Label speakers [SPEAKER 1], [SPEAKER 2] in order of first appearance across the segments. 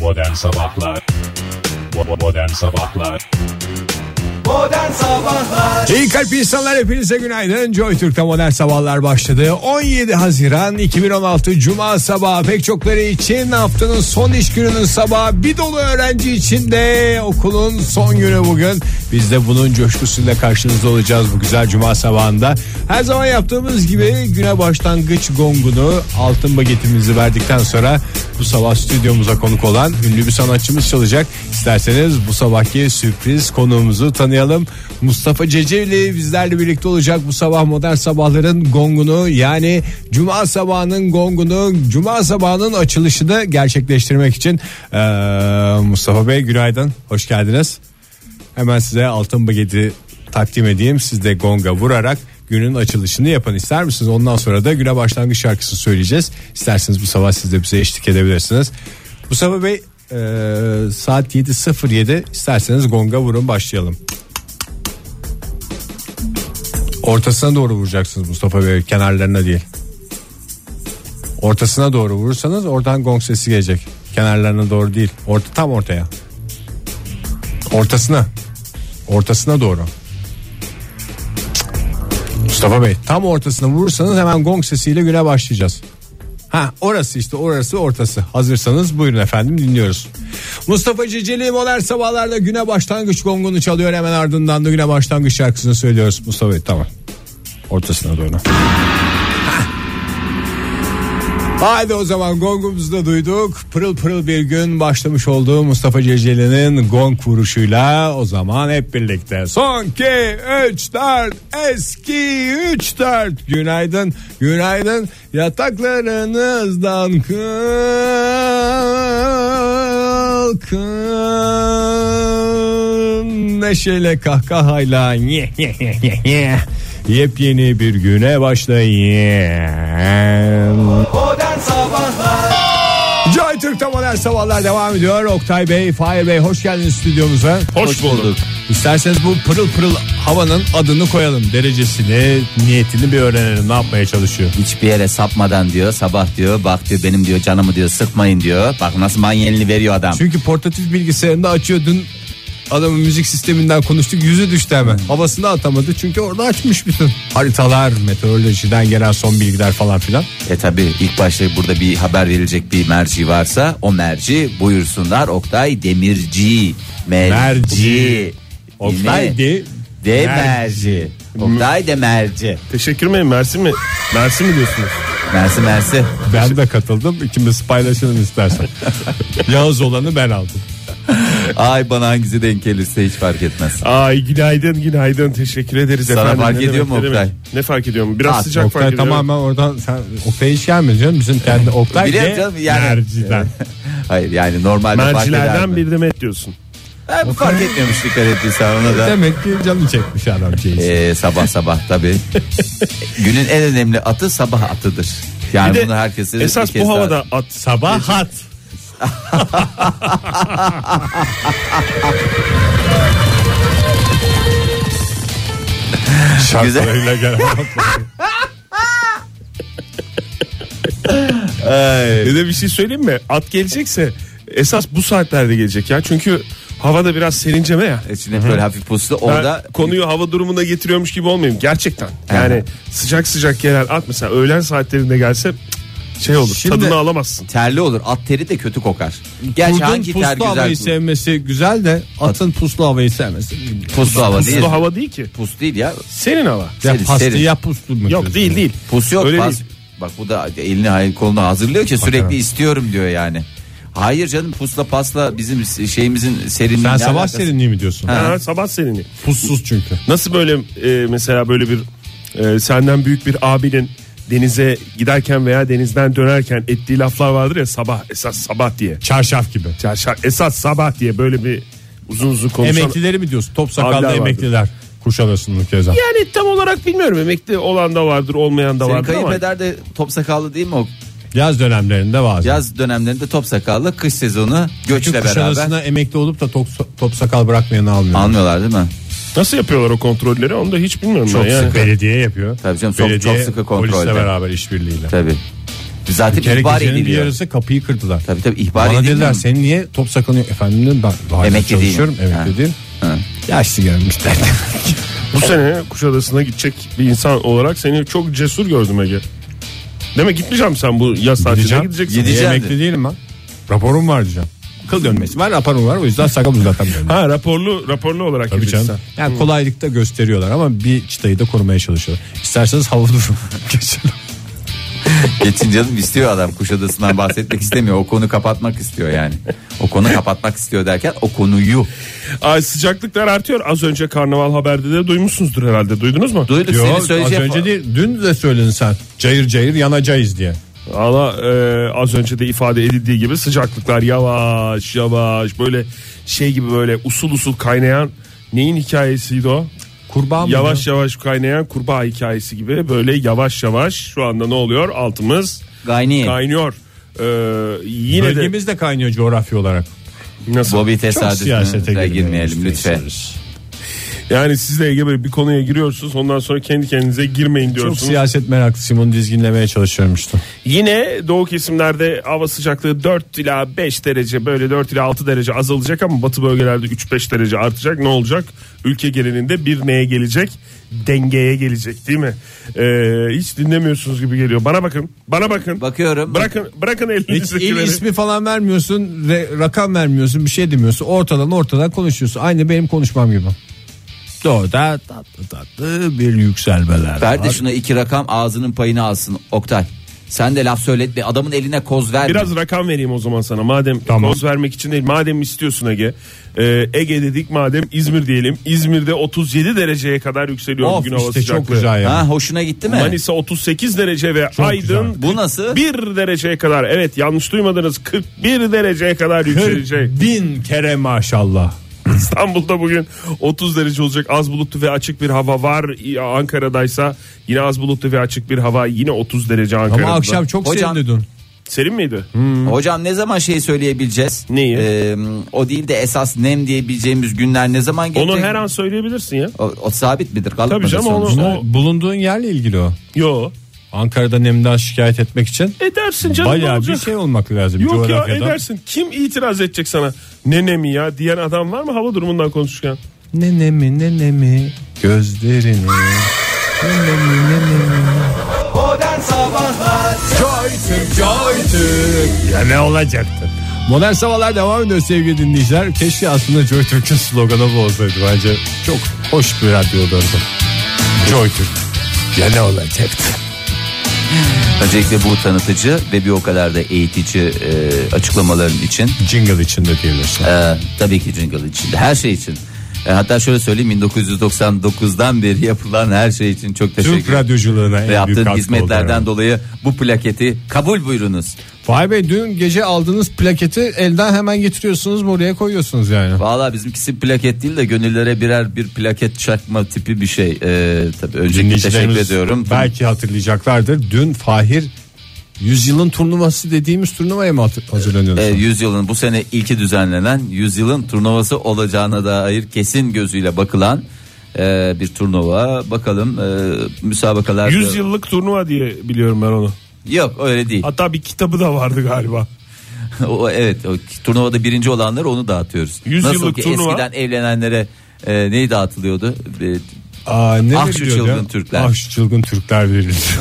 [SPEAKER 1] Modern Sabahlar Bo- Modern Sabahlar
[SPEAKER 2] İyi kalp insanlar hepinize günaydın. Joy Türk'te modern sabahlar başladı. 17 Haziran 2016 Cuma sabahı pek çokları için haftanın son iş gününün sabahı bir dolu öğrenci için de okulun son günü bugün. Biz de bunun coşkusuyla karşınızda olacağız bu güzel Cuma sabahında. Her zaman yaptığımız gibi güne başlangıç gongunu altın bagetimizi verdikten sonra bu sabah stüdyomuza konuk olan ünlü bir sanatçımız çalacak. İsterseniz bu sabahki sürpriz konuğumuzu tanıyalım. Mustafa Ceceli bizlerle birlikte olacak bu sabah modern sabahların gongunu yani cuma sabahının gongunu cuma sabahının açılışını gerçekleştirmek için eee, Mustafa Bey günaydın hoş geldiniz. Hemen size altın bageti takdim edeyim siz de gonga vurarak günün açılışını yapın ister misiniz? Ondan sonra da güne başlangıç şarkısı söyleyeceğiz. İsterseniz bu sabah siz de bize eşlik edebilirsiniz. Mustafa Bey eee, saat 7.07 isterseniz gonga vurun başlayalım. Ortasına doğru vuracaksınız Mustafa Bey kenarlarına değil. Ortasına doğru vurursanız oradan gong sesi gelecek. Kenarlarına doğru değil. Orta tam ortaya. Ortasına. Ortasına doğru. Cık. Mustafa Bey tam ortasına vurursanız hemen gong sesiyle güne başlayacağız. Ha orası işte orası ortası. Hazırsanız buyurun efendim dinliyoruz. Mustafa Ceceli modern sabahlarda güne başlangıç gongunu çalıyor hemen ardından da güne başlangıç şarkısını söylüyoruz Mustafa Bey tamam. Ortasına doğru. Haydi o zaman gongumuzu da duyduk. Pırıl pırıl bir gün başlamış olduğu Mustafa Ceceli'nin gong vuruşuyla o zaman hep birlikte. Son 2 3 4 eski 3 4 günaydın günaydın yataklarınızdan kalkın neşeyle kahkahayla Nye, nye, nye, nye, nye. yepyeni bir güne başlayın. Joy Türk'te modern sabahlar devam ediyor. Oktay Bey, Fahir Bey hoş geldiniz stüdyomuza.
[SPEAKER 1] Hoş, bulduk.
[SPEAKER 2] İsterseniz bu pırıl pırıl havanın adını koyalım. Derecesini, niyetini bir öğrenelim. Ne yapmaya çalışıyor?
[SPEAKER 3] Hiçbir yere sapmadan diyor sabah diyor bak diyor benim diyor canımı diyor sıkmayın diyor. Bak nasıl manyelini veriyor adam.
[SPEAKER 2] Çünkü portatif bilgisayarında açıyor dün adamın müzik sisteminden konuştuk yüzü düştü hemen. Havasını atamadı çünkü orada açmış bütün haritalar, meteorolojiden gelen son bilgiler falan filan.
[SPEAKER 3] E tabi ilk başta burada bir haber verilecek bir merci varsa o merci buyursunlar Oktay Demirci. Merci.
[SPEAKER 2] Merci.
[SPEAKER 3] Yine
[SPEAKER 2] Oktay de
[SPEAKER 3] De merci. Oktay de merci.
[SPEAKER 4] Teşekkür miyim Mersi mi? Mersi mi diyorsunuz?
[SPEAKER 3] Merci merci.
[SPEAKER 2] ben de katıldım. İkimiz paylaşalım istersen. Yağız olanı ben aldım.
[SPEAKER 3] Ay bana hangisi denk gelirse hiç fark etmez.
[SPEAKER 4] Ay günaydın günaydın teşekkür ederiz
[SPEAKER 3] Sana
[SPEAKER 4] efendim.
[SPEAKER 3] fark
[SPEAKER 4] Ne
[SPEAKER 3] ediyor
[SPEAKER 4] demek,
[SPEAKER 3] mu
[SPEAKER 4] ne demek?
[SPEAKER 3] Oktay?
[SPEAKER 4] Ne fark ediyor mu? Biraz
[SPEAKER 3] Ah,
[SPEAKER 4] sıcak
[SPEAKER 2] Oktay
[SPEAKER 4] fark ediyor.
[SPEAKER 2] tamamen oradan sen Oktay hiç gelmedi canım bizim kendi Oktay
[SPEAKER 3] Biliyorum
[SPEAKER 2] de
[SPEAKER 3] canım, yani.
[SPEAKER 2] merciler.
[SPEAKER 3] Hayır yani normalde fark eder
[SPEAKER 4] Mercilerden
[SPEAKER 3] mi?
[SPEAKER 4] bir de met diyorsun.
[SPEAKER 3] Ben fark etmemiş dikkat ettiysen ona da.
[SPEAKER 2] Demek ki canı çekmiş adam şeyi.
[SPEAKER 3] Ee, sabah sabah tabi. Günün en önemli atı sabah atıdır. Yani
[SPEAKER 4] Bir de
[SPEAKER 3] bunu herkese bir
[SPEAKER 4] esas
[SPEAKER 3] kez
[SPEAKER 4] bu
[SPEAKER 3] daha-
[SPEAKER 4] havada at sabah hat.
[SPEAKER 2] Şarkılarıyla gelen
[SPEAKER 4] Bir de bir şey söyleyeyim mi? At gelecekse esas bu saatlerde gelecek ya. Çünkü havada biraz serinceme ya.
[SPEAKER 3] E, Şimdi böyle hafif puslu orada
[SPEAKER 4] Ben konuyu hava durumuna getiriyormuş gibi olmayayım gerçekten. Yani sıcak sıcak gelen at mesela öğlen saatlerinde gelse cık, şey olur.
[SPEAKER 2] Şimdi-
[SPEAKER 4] tadını alamazsın.
[SPEAKER 3] terli olur. At teri de kötü kokar. Gerçi
[SPEAKER 2] Kurdun
[SPEAKER 3] hangi ter
[SPEAKER 2] puslu
[SPEAKER 3] güzel?
[SPEAKER 2] havayı
[SPEAKER 3] Puslu,
[SPEAKER 2] sevmesi güzel de atın puslu havayı sevmesi.
[SPEAKER 3] hava değil.
[SPEAKER 4] Puslu hava değil ki.
[SPEAKER 3] Pus değil ya.
[SPEAKER 4] Senin hava.
[SPEAKER 2] Ya
[SPEAKER 3] Seri,
[SPEAKER 2] paslı
[SPEAKER 3] seri.
[SPEAKER 2] ya puslu mu?
[SPEAKER 4] Yok değil değil.
[SPEAKER 3] Pus yok.
[SPEAKER 4] Öyle
[SPEAKER 3] pas-
[SPEAKER 4] değil.
[SPEAKER 3] Bak bu da elini hayır kolunu hazırlıyor ki sürekli istiyorum diyor yani. Hayır canım pusla pasla bizim şeyimizin serinliği.
[SPEAKER 2] Sen
[SPEAKER 3] ne
[SPEAKER 2] sabah
[SPEAKER 3] alakası?
[SPEAKER 2] serinliği mi diyorsun?
[SPEAKER 3] Ha.
[SPEAKER 4] Ha, sabah serinliği.
[SPEAKER 2] Pussuz çünkü.
[SPEAKER 4] Nasıl böyle e, mesela böyle bir e, senden büyük bir abinin denize giderken veya denizden dönerken ettiği laflar vardır ya sabah esas sabah diye.
[SPEAKER 2] Çarşaf gibi.
[SPEAKER 4] Çarşar esas sabah diye böyle bir uzun uzun konuşan.
[SPEAKER 2] Emeklileri mi diyorsun? Top
[SPEAKER 4] Abiler
[SPEAKER 2] sakallı
[SPEAKER 4] vardı.
[SPEAKER 2] emekliler. Kuşadası'nın keza.
[SPEAKER 4] Yani tam olarak bilmiyorum emekli olan da vardır olmayan da
[SPEAKER 3] Senin
[SPEAKER 4] vardır ama.
[SPEAKER 3] kayınpeder de top sakallı değil mi o?
[SPEAKER 2] Yaz dönemlerinde var.
[SPEAKER 3] Yaz dönemlerinde top sakallı, kış sezonu
[SPEAKER 2] Çünkü
[SPEAKER 3] göçle beraber.
[SPEAKER 2] Kuşadası'na emekli olup da top, top sakal bırakmayanı almıyor.
[SPEAKER 3] Anlıyorlar değil mi?
[SPEAKER 4] Nasıl yapıyorlar o kontrolleri onu da hiç bilmiyorum
[SPEAKER 2] Çok
[SPEAKER 4] ben yani.
[SPEAKER 2] sıkı. Belediye yapıyor.
[SPEAKER 3] Tabii canım, çok-
[SPEAKER 2] Belediye,
[SPEAKER 3] çok sıkı
[SPEAKER 2] Polisle
[SPEAKER 3] kontrolde.
[SPEAKER 2] beraber işbirliğiyle.
[SPEAKER 3] Tabii. Zaten
[SPEAKER 2] Bir kere
[SPEAKER 3] ihbar
[SPEAKER 2] gecenin bir
[SPEAKER 3] ediliyor.
[SPEAKER 2] yarısı kapıyı kırdılar.
[SPEAKER 3] Tabii tabii ihbar
[SPEAKER 2] Bana
[SPEAKER 3] ediliyor.
[SPEAKER 2] dediler senin niye top saklanıyor efendim dedim, ben daha
[SPEAKER 3] Emekli değilim.
[SPEAKER 2] çalışıyorum
[SPEAKER 3] Ha.
[SPEAKER 2] emekli değilim.
[SPEAKER 3] Ha.
[SPEAKER 2] Yaşlı gelmişler.
[SPEAKER 4] Bu sene Kuşadası'na gidecek bir insan olarak seni çok cesur gördüm Ege. Demek gitmeyeceğim sen bu yaz tatiline
[SPEAKER 2] Gideceğim.
[SPEAKER 4] gideceksin.
[SPEAKER 2] Niye
[SPEAKER 3] Gideceğim.
[SPEAKER 2] emekli değilim ben. Raporum var diyeceğim. Kıl dönmesi var raporum var o yüzden sakal uzatamıyorum.
[SPEAKER 4] Ha raporlu raporlu olarak
[SPEAKER 2] Tabii
[SPEAKER 4] gideceksin.
[SPEAKER 2] canım. Yani kolaylıkta gösteriyorlar ama bir çıtayı da korumaya çalışıyorlar. İsterseniz hava durumu geçelim.
[SPEAKER 3] Geçin canım istiyor adam Kuşadası'ndan bahsetmek istemiyor. O konu kapatmak istiyor yani. O konu kapatmak istiyor derken o konuyu.
[SPEAKER 4] Ay sıcaklıklar artıyor. Az önce karnaval haberde de duymuşsunuzdur herhalde. Duydunuz mu?
[SPEAKER 3] Duyduk
[SPEAKER 2] Yo,
[SPEAKER 3] seni
[SPEAKER 2] az
[SPEAKER 3] söyleyeceğim.
[SPEAKER 2] önce değil dün de söyledin sen. Cayır cayır yanacağız diye.
[SPEAKER 4] Valla e, az önce de ifade edildiği gibi sıcaklıklar yavaş yavaş böyle şey gibi böyle usul usul kaynayan neyin hikayesiydi o?
[SPEAKER 2] Kurbağa mı?
[SPEAKER 4] Yavaş yavaş kaynayan kurbağa hikayesi gibi böyle yavaş yavaş şu anda ne oluyor? Altımız
[SPEAKER 3] Gayni.
[SPEAKER 4] kaynıyor. E, yine de
[SPEAKER 2] Bölgemiz de kaynıyor coğrafya olarak.
[SPEAKER 4] nasıl?
[SPEAKER 3] Bobby
[SPEAKER 2] Çok siyasete
[SPEAKER 3] tesadüfüne girmeyelim
[SPEAKER 2] girmeyelim
[SPEAKER 3] lütfen.
[SPEAKER 4] Yani siz de Ege Bey bir konuya giriyorsunuz ondan sonra kendi kendinize girmeyin
[SPEAKER 2] Çok
[SPEAKER 4] diyorsunuz.
[SPEAKER 2] siyaset meraklısıyım onu dizginlemeye çalışıyorum işte.
[SPEAKER 4] Yine doğu kesimlerde hava sıcaklığı 4 ila 5 derece böyle 4 ila 6 derece azalacak ama batı bölgelerde 3-5 derece artacak. Ne olacak? Ülke genelinde bir neye gelecek? Dengeye gelecek değil mi? Ee, hiç dinlemiyorsunuz gibi geliyor. Bana bakın. Bana bakın.
[SPEAKER 3] Bakıyorum.
[SPEAKER 4] Bırakın bırakın
[SPEAKER 2] Hiç il
[SPEAKER 4] elinizdekileri.
[SPEAKER 2] ismi falan vermiyorsun, re- rakam vermiyorsun, bir şey demiyorsun. Ortadan ortadan konuşuyorsun. Aynı benim konuşmam gibi. Doğuda tatlı tatlı bir yükselmeler
[SPEAKER 3] Ver de
[SPEAKER 2] var.
[SPEAKER 3] şuna iki rakam ağzının payını alsın Oktay. Sen de laf söyletme adamın eline koz verme.
[SPEAKER 4] Biraz rakam vereyim o zaman sana. Madem koz vermek için değil. Madem istiyorsun Ege. Ee, Ege dedik madem İzmir diyelim. İzmir'de 37 dereceye kadar yükseliyor
[SPEAKER 2] Of
[SPEAKER 4] bugün hava
[SPEAKER 2] işte
[SPEAKER 4] sıcaklığı.
[SPEAKER 2] çok güzel ya.
[SPEAKER 3] Ha hoşuna gitti mi?
[SPEAKER 4] Manisa 38 derece ve Aydın
[SPEAKER 3] Bu nasıl?
[SPEAKER 4] 1 dereceye kadar. Evet yanlış duymadınız 41 dereceye kadar yükselecek.
[SPEAKER 2] Bin kere maşallah.
[SPEAKER 4] İstanbul'da bugün 30 derece olacak az bulutlu ve açık bir hava var. Ankara'daysa yine az bulutlu ve açık bir hava yine 30 derece Ankara'da.
[SPEAKER 2] Ama akşam çok
[SPEAKER 3] Hocam-
[SPEAKER 2] sevindi dün.
[SPEAKER 4] Serin miydi?
[SPEAKER 3] Hocam ne zaman şey söyleyebileceğiz?
[SPEAKER 4] Neyi?
[SPEAKER 3] Ee, o değil de esas nem diyebileceğimiz günler ne zaman gelecek?
[SPEAKER 4] Onu her an söyleyebilirsin ya.
[SPEAKER 3] O, o sabit midir? Kalıp
[SPEAKER 4] Tabii
[SPEAKER 3] mıdır
[SPEAKER 4] canım, onu-
[SPEAKER 3] sonuçta?
[SPEAKER 2] Bunlar bulunduğun yerle ilgili o.
[SPEAKER 4] Yo.
[SPEAKER 2] Ankara'da nemden şikayet etmek için
[SPEAKER 4] Edersin canım ne
[SPEAKER 2] bayağı bir
[SPEAKER 4] olacak?
[SPEAKER 2] şey olmak lazım
[SPEAKER 4] Yok ya
[SPEAKER 2] coğrafyada.
[SPEAKER 4] edersin. Kim itiraz edecek sana? Ne nemi ya diyen adam var mı hava durumundan konuşurken?
[SPEAKER 2] Ne nemi ne nemi gözlerini. ne nemi ne nemi. Ya ne olacaktı? Modern Sabahlar devam ediyor sevgili dinleyiciler. Keşke aslında Joy Türk'ün sloganı bu olsaydı bence. Çok hoş bir radyo olurdu. Joy Türk. Ya ne olacaktı?
[SPEAKER 3] Öncelikle bu tanıtıcı ve bir o kadar da eğitici e, açıklamaların için
[SPEAKER 2] Jingle içinde diyebilirsin.
[SPEAKER 3] Ee, tabii ki jingle için. Her şey için. Ee, hatta şöyle söyleyeyim 1999'dan beri yapılan her şey için çok teşekkür
[SPEAKER 2] Türk radyoculuğuna
[SPEAKER 3] ve
[SPEAKER 2] en büyük
[SPEAKER 3] yaptığın
[SPEAKER 2] katkı
[SPEAKER 3] hizmetlerden
[SPEAKER 2] oldu.
[SPEAKER 3] dolayı bu plaketi kabul buyurunuz.
[SPEAKER 2] Fahir Bey dün gece aldığınız plaketi elden hemen getiriyorsunuz buraya koyuyorsunuz yani.
[SPEAKER 3] Valla bizimkisi plaket değil de gönüllere birer bir plaket çakma tipi bir şey. Ee, tabii öncelikle teşekkür
[SPEAKER 2] Dinleyicilerimiz
[SPEAKER 3] ediyorum. Ee,
[SPEAKER 2] Belki hatırlayacaklardır. Dün Fahir yüzyılın turnuvası dediğimiz turnuvaya mı hatır- hazırlanıyorsun?
[SPEAKER 3] Ee, yüzyılın bu sene ilki düzenlenen yüzyılın turnuvası olacağına dair kesin gözüyle bakılan e, bir turnuva. Bakalım e, müsabakalar.
[SPEAKER 4] 100 yıllık turnuva diye biliyorum ben onu.
[SPEAKER 3] Yok öyle değil.
[SPEAKER 4] Hatta bir kitabı da vardı galiba.
[SPEAKER 3] O, evet o turnuvada birinci olanlar onu dağıtıyoruz.
[SPEAKER 4] Yüz
[SPEAKER 3] Nasıl
[SPEAKER 4] yıllık
[SPEAKER 3] ki
[SPEAKER 4] turnuva.
[SPEAKER 3] eskiden evlenenlere e, neyi dağıtılıyordu? E,
[SPEAKER 2] Aa, ne
[SPEAKER 3] Ah şu
[SPEAKER 2] veriliyordu
[SPEAKER 3] çılgın Türkler.
[SPEAKER 2] Ah şu çılgın Türkler veriliyor.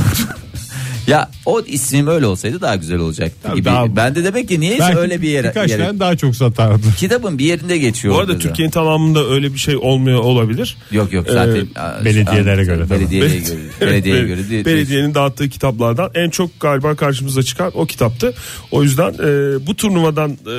[SPEAKER 3] ya o isim öyle olsaydı daha güzel olacaktı gibi.
[SPEAKER 2] daha-
[SPEAKER 3] ben de demek ki niye
[SPEAKER 2] Belki
[SPEAKER 3] öyle bir yere,
[SPEAKER 2] Birkaç
[SPEAKER 3] yere-
[SPEAKER 2] tane daha çok satardı.
[SPEAKER 3] kitabın bir yerinde geçiyor.
[SPEAKER 4] Bu
[SPEAKER 3] orada
[SPEAKER 4] arada
[SPEAKER 3] da.
[SPEAKER 4] Türkiye'nin tamamında öyle bir şey olmuyor olabilir.
[SPEAKER 3] Yok yok
[SPEAKER 4] Ee,
[SPEAKER 3] zaten aa,
[SPEAKER 2] belediyelere göre tabii.
[SPEAKER 3] Belediyelere göre. Belediyeye göre. değil-
[SPEAKER 4] Belediyenin dağıttığı kitaplardan en çok galiba karşımıza çıkan o kitaptı. O yüzden e, bu turnuvadan e,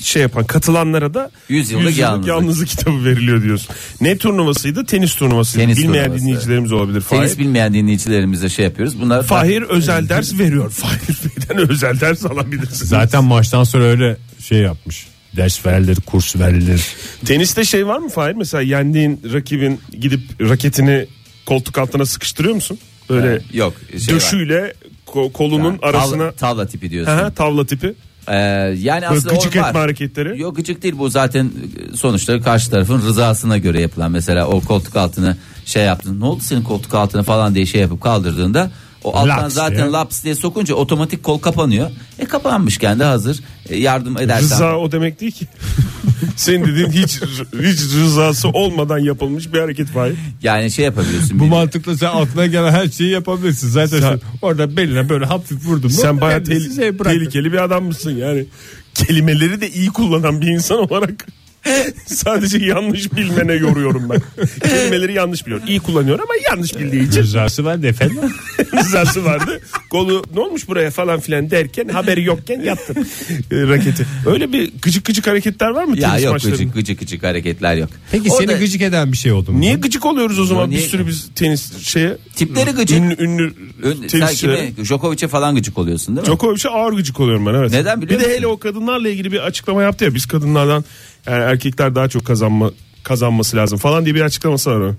[SPEAKER 4] şey yapan katılanlara da
[SPEAKER 3] Yüz yıllık yalnızlık.
[SPEAKER 4] yalnızlık kitabı veriliyor diyorsun. Ne turnuvasıydı? Tenis turnuvasıydı.
[SPEAKER 3] Tenis
[SPEAKER 4] Bilmeyen
[SPEAKER 3] turnuvası.
[SPEAKER 4] dinleyicilerimiz olabilir. Fahir.
[SPEAKER 3] Tenis bilmeyen dinleyicilerimize şey yapıyoruz. Bunlar
[SPEAKER 4] Fahir özel ders veriyor. Fahir Bey'den özel ders alabilirsiniz.
[SPEAKER 2] Zaten maçtan sonra öyle şey yapmış. Ders verilir, kurs verilir.
[SPEAKER 4] Teniste şey var mı Fahir? Mesela yendiğin rakibin gidip raketini koltuk altına sıkıştırıyor musun? Böyle
[SPEAKER 3] yok. Şey var.
[SPEAKER 4] döşüyle ko- kolunun
[SPEAKER 3] Tavla-
[SPEAKER 4] arasına
[SPEAKER 3] tavla tipi diyorsun.
[SPEAKER 4] Aha, tavla tipi.
[SPEAKER 3] Ee, yani aslında
[SPEAKER 4] gıcık
[SPEAKER 3] o var.
[SPEAKER 4] etme hareketleri.
[SPEAKER 3] Yok gıcık değil bu zaten e, sonuçta karşı tarafın rızasına göre yapılan mesela o koltuk altını şey yaptın. Ne oldu senin koltuk altını falan diye şey yapıp kaldırdığında O alttan
[SPEAKER 2] Laps
[SPEAKER 3] zaten
[SPEAKER 2] diye.
[SPEAKER 3] laps diye sokunca otomatik kol kapanıyor. E kapanmışken de hazır e, yardım edersen.
[SPEAKER 4] Rıza o demek değil ki. Senin dediğin hiç hiç rızası olmadan yapılmış bir hareket var.
[SPEAKER 3] Yani şey yapabiliyorsun.
[SPEAKER 2] Bu
[SPEAKER 3] bir-
[SPEAKER 2] mantıkla sen aklına gelen her şeyi yapabilirsin. Zaten
[SPEAKER 4] Sen-
[SPEAKER 2] şu- orada beline böyle hafif vurdum.
[SPEAKER 4] Sen bayağı
[SPEAKER 2] Kendisi
[SPEAKER 4] tehl-
[SPEAKER 2] şey bıraktı.
[SPEAKER 4] tehlikeli bir adam mısın yani? Kelimeleri de iyi kullanan bir insan olarak sadece yanlış bilmene yoruyorum ben. Kelimeleri yanlış biliyor. İyi kullanıyor ama yanlış bildiği için
[SPEAKER 2] Cezası var da efendim.
[SPEAKER 4] rızası vardı. Kolu ne olmuş buraya falan filan derken haberi yokken yattı e, raketi. Öyle bir gıcık gıcık hareketler var mı
[SPEAKER 3] Ya
[SPEAKER 4] tenis
[SPEAKER 3] yok
[SPEAKER 4] maçlarında?
[SPEAKER 3] gıcık gıcık gıcık hareketler yok.
[SPEAKER 2] Peki
[SPEAKER 3] O
[SPEAKER 2] seni
[SPEAKER 3] da
[SPEAKER 2] gıcık eden bir şey oldu mu?
[SPEAKER 4] Niye gıcık oluyoruz o zaman
[SPEAKER 3] niye-
[SPEAKER 4] bir sürü biz tenis şeye?
[SPEAKER 3] Tipleri gıcık.
[SPEAKER 4] Ünlü, ünlü
[SPEAKER 3] Ön- sen
[SPEAKER 4] tenisçilere.
[SPEAKER 3] kime? Djokovic'e falan gıcık oluyorsun değil mi?
[SPEAKER 4] Çok öyle bir şey ağır gıcık oluyorum ben evet.
[SPEAKER 3] Neden biliyor
[SPEAKER 4] Bir de
[SPEAKER 3] musun?
[SPEAKER 4] hele o kadınlarla ilgili bir açıklama yaptı ya biz kadınlardan yani erkekler daha çok kazanma kazanması lazım falan diye bir açıklaması var onun.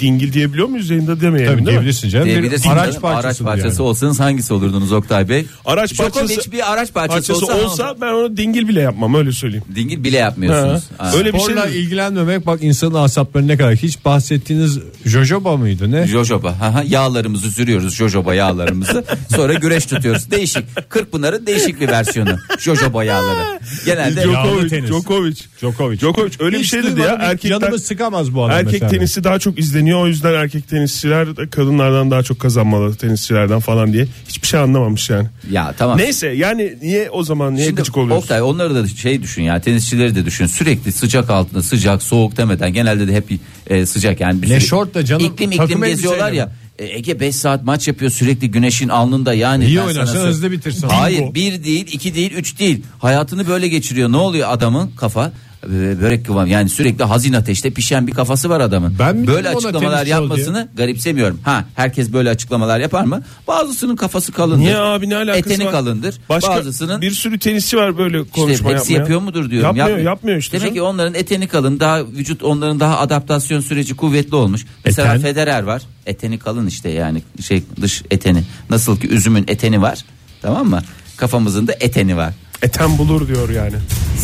[SPEAKER 4] Dingil diyebiliyor muyuz yayında demeyelim
[SPEAKER 2] Tabii
[SPEAKER 4] değil mi?
[SPEAKER 2] diyebilirsin canım.
[SPEAKER 3] Diyebilirsin
[SPEAKER 2] Bir araç
[SPEAKER 3] canım,
[SPEAKER 2] parçası.
[SPEAKER 3] araç parçası
[SPEAKER 2] yani.
[SPEAKER 3] olsanız hangisi olurdunuz Oktay Bey?
[SPEAKER 4] Araç
[SPEAKER 3] Djokovic
[SPEAKER 4] parçası-
[SPEAKER 3] bir araç parçası,
[SPEAKER 4] Parçası olsa,
[SPEAKER 3] olsa
[SPEAKER 4] ben onu dingil bile yapmam öyle söyleyeyim.
[SPEAKER 3] dingil bile yapmıyorsunuz.
[SPEAKER 4] Ha.
[SPEAKER 3] Ha.
[SPEAKER 4] Öyle bir şey
[SPEAKER 2] Sporla
[SPEAKER 4] değil.
[SPEAKER 2] ilgilenmemek bak insanın asapları ne kadar. Hiç bahsettiğiniz jojoba mıydı ne?
[SPEAKER 3] Jojoba. Ha ha, yağlarımızı sürüyoruz jojoba yağlarımızı. Sonra güreş tutuyoruz. Değişik. Kırkpınar'ın değişik bir versiyonu. Jojoba yağları. Genelde
[SPEAKER 2] Yağlı
[SPEAKER 4] Djokovic,
[SPEAKER 2] tenis.
[SPEAKER 4] Djokovic.
[SPEAKER 2] Djokovic.
[SPEAKER 4] Djokovic öyle
[SPEAKER 2] Hiç
[SPEAKER 4] bir şey dedi ya.
[SPEAKER 2] duymadım, hiç
[SPEAKER 4] Erkekler,
[SPEAKER 2] Yanımı sıkamaz bu adam
[SPEAKER 4] erkek
[SPEAKER 2] mesela.
[SPEAKER 4] tenisi daha çok izleniyor. O yüzden erkek tenisçiler de kadınlardan daha çok kazanmalı tenisçilerden falan diye. Hiçbir şey anlamamış yani.
[SPEAKER 3] ya tamam.
[SPEAKER 4] Neyse yani niye o zaman niye
[SPEAKER 3] Şimdi
[SPEAKER 4] gıcık oluyorsun?
[SPEAKER 3] Oktay onları da şey düşün ya tenisçileri de düşün sürekli sıcak altında sıcak soğuk demeden genelde de hep e, sıcak yani bir
[SPEAKER 2] Ne
[SPEAKER 3] sürü-
[SPEAKER 2] şort da canım,
[SPEAKER 3] iklim
[SPEAKER 2] takım
[SPEAKER 3] iklim geziyorlar
[SPEAKER 2] elbiseyle
[SPEAKER 3] ya E, Ege 5 saat maç yapıyor sürekli güneşin alnında yani
[SPEAKER 2] İyi
[SPEAKER 3] ben sana
[SPEAKER 2] oynarsan
[SPEAKER 3] söyleyeyim.
[SPEAKER 2] hızlı bitirsin.
[SPEAKER 3] Hayır
[SPEAKER 2] Bingo.
[SPEAKER 3] bir değil iki değil üç değil hayatını böyle geçiriyor ne oluyor adamın kafa E, börek kıvam yani sürekli hazin ateşte pişen bir kafası var adamın.
[SPEAKER 2] Ben mi
[SPEAKER 3] böyle
[SPEAKER 2] dedim ona
[SPEAKER 3] açıklamalar
[SPEAKER 2] tenisçi ol
[SPEAKER 3] yapmasını garipsemiyorum. Ha herkes böyle açıklamalar yapar mı? Bazısının kafası kalındır.
[SPEAKER 4] Niye abi ne alakası
[SPEAKER 3] Eteni
[SPEAKER 4] var?
[SPEAKER 3] kalındır.
[SPEAKER 4] Başka
[SPEAKER 3] Bazısının
[SPEAKER 4] bir sürü tenisçi var böyle
[SPEAKER 3] işte
[SPEAKER 4] konuşma
[SPEAKER 3] hepsi
[SPEAKER 4] yapmaya.
[SPEAKER 3] yapıyor mudur diyorum.
[SPEAKER 4] Yapmıyor yapmıyor, işte.
[SPEAKER 3] Demek
[SPEAKER 4] canım.
[SPEAKER 3] ki onların eteni kalın daha vücut onların daha adaptasyon süreci kuvvetli olmuş. Mesela
[SPEAKER 2] Eten?
[SPEAKER 3] Federer var. Eteni kalın işte yani şey dış eteni. Nasıl ki üzümün eteni var. Tamam mı? Kafamızın da eteni var.
[SPEAKER 4] Eten bulur diyor yani.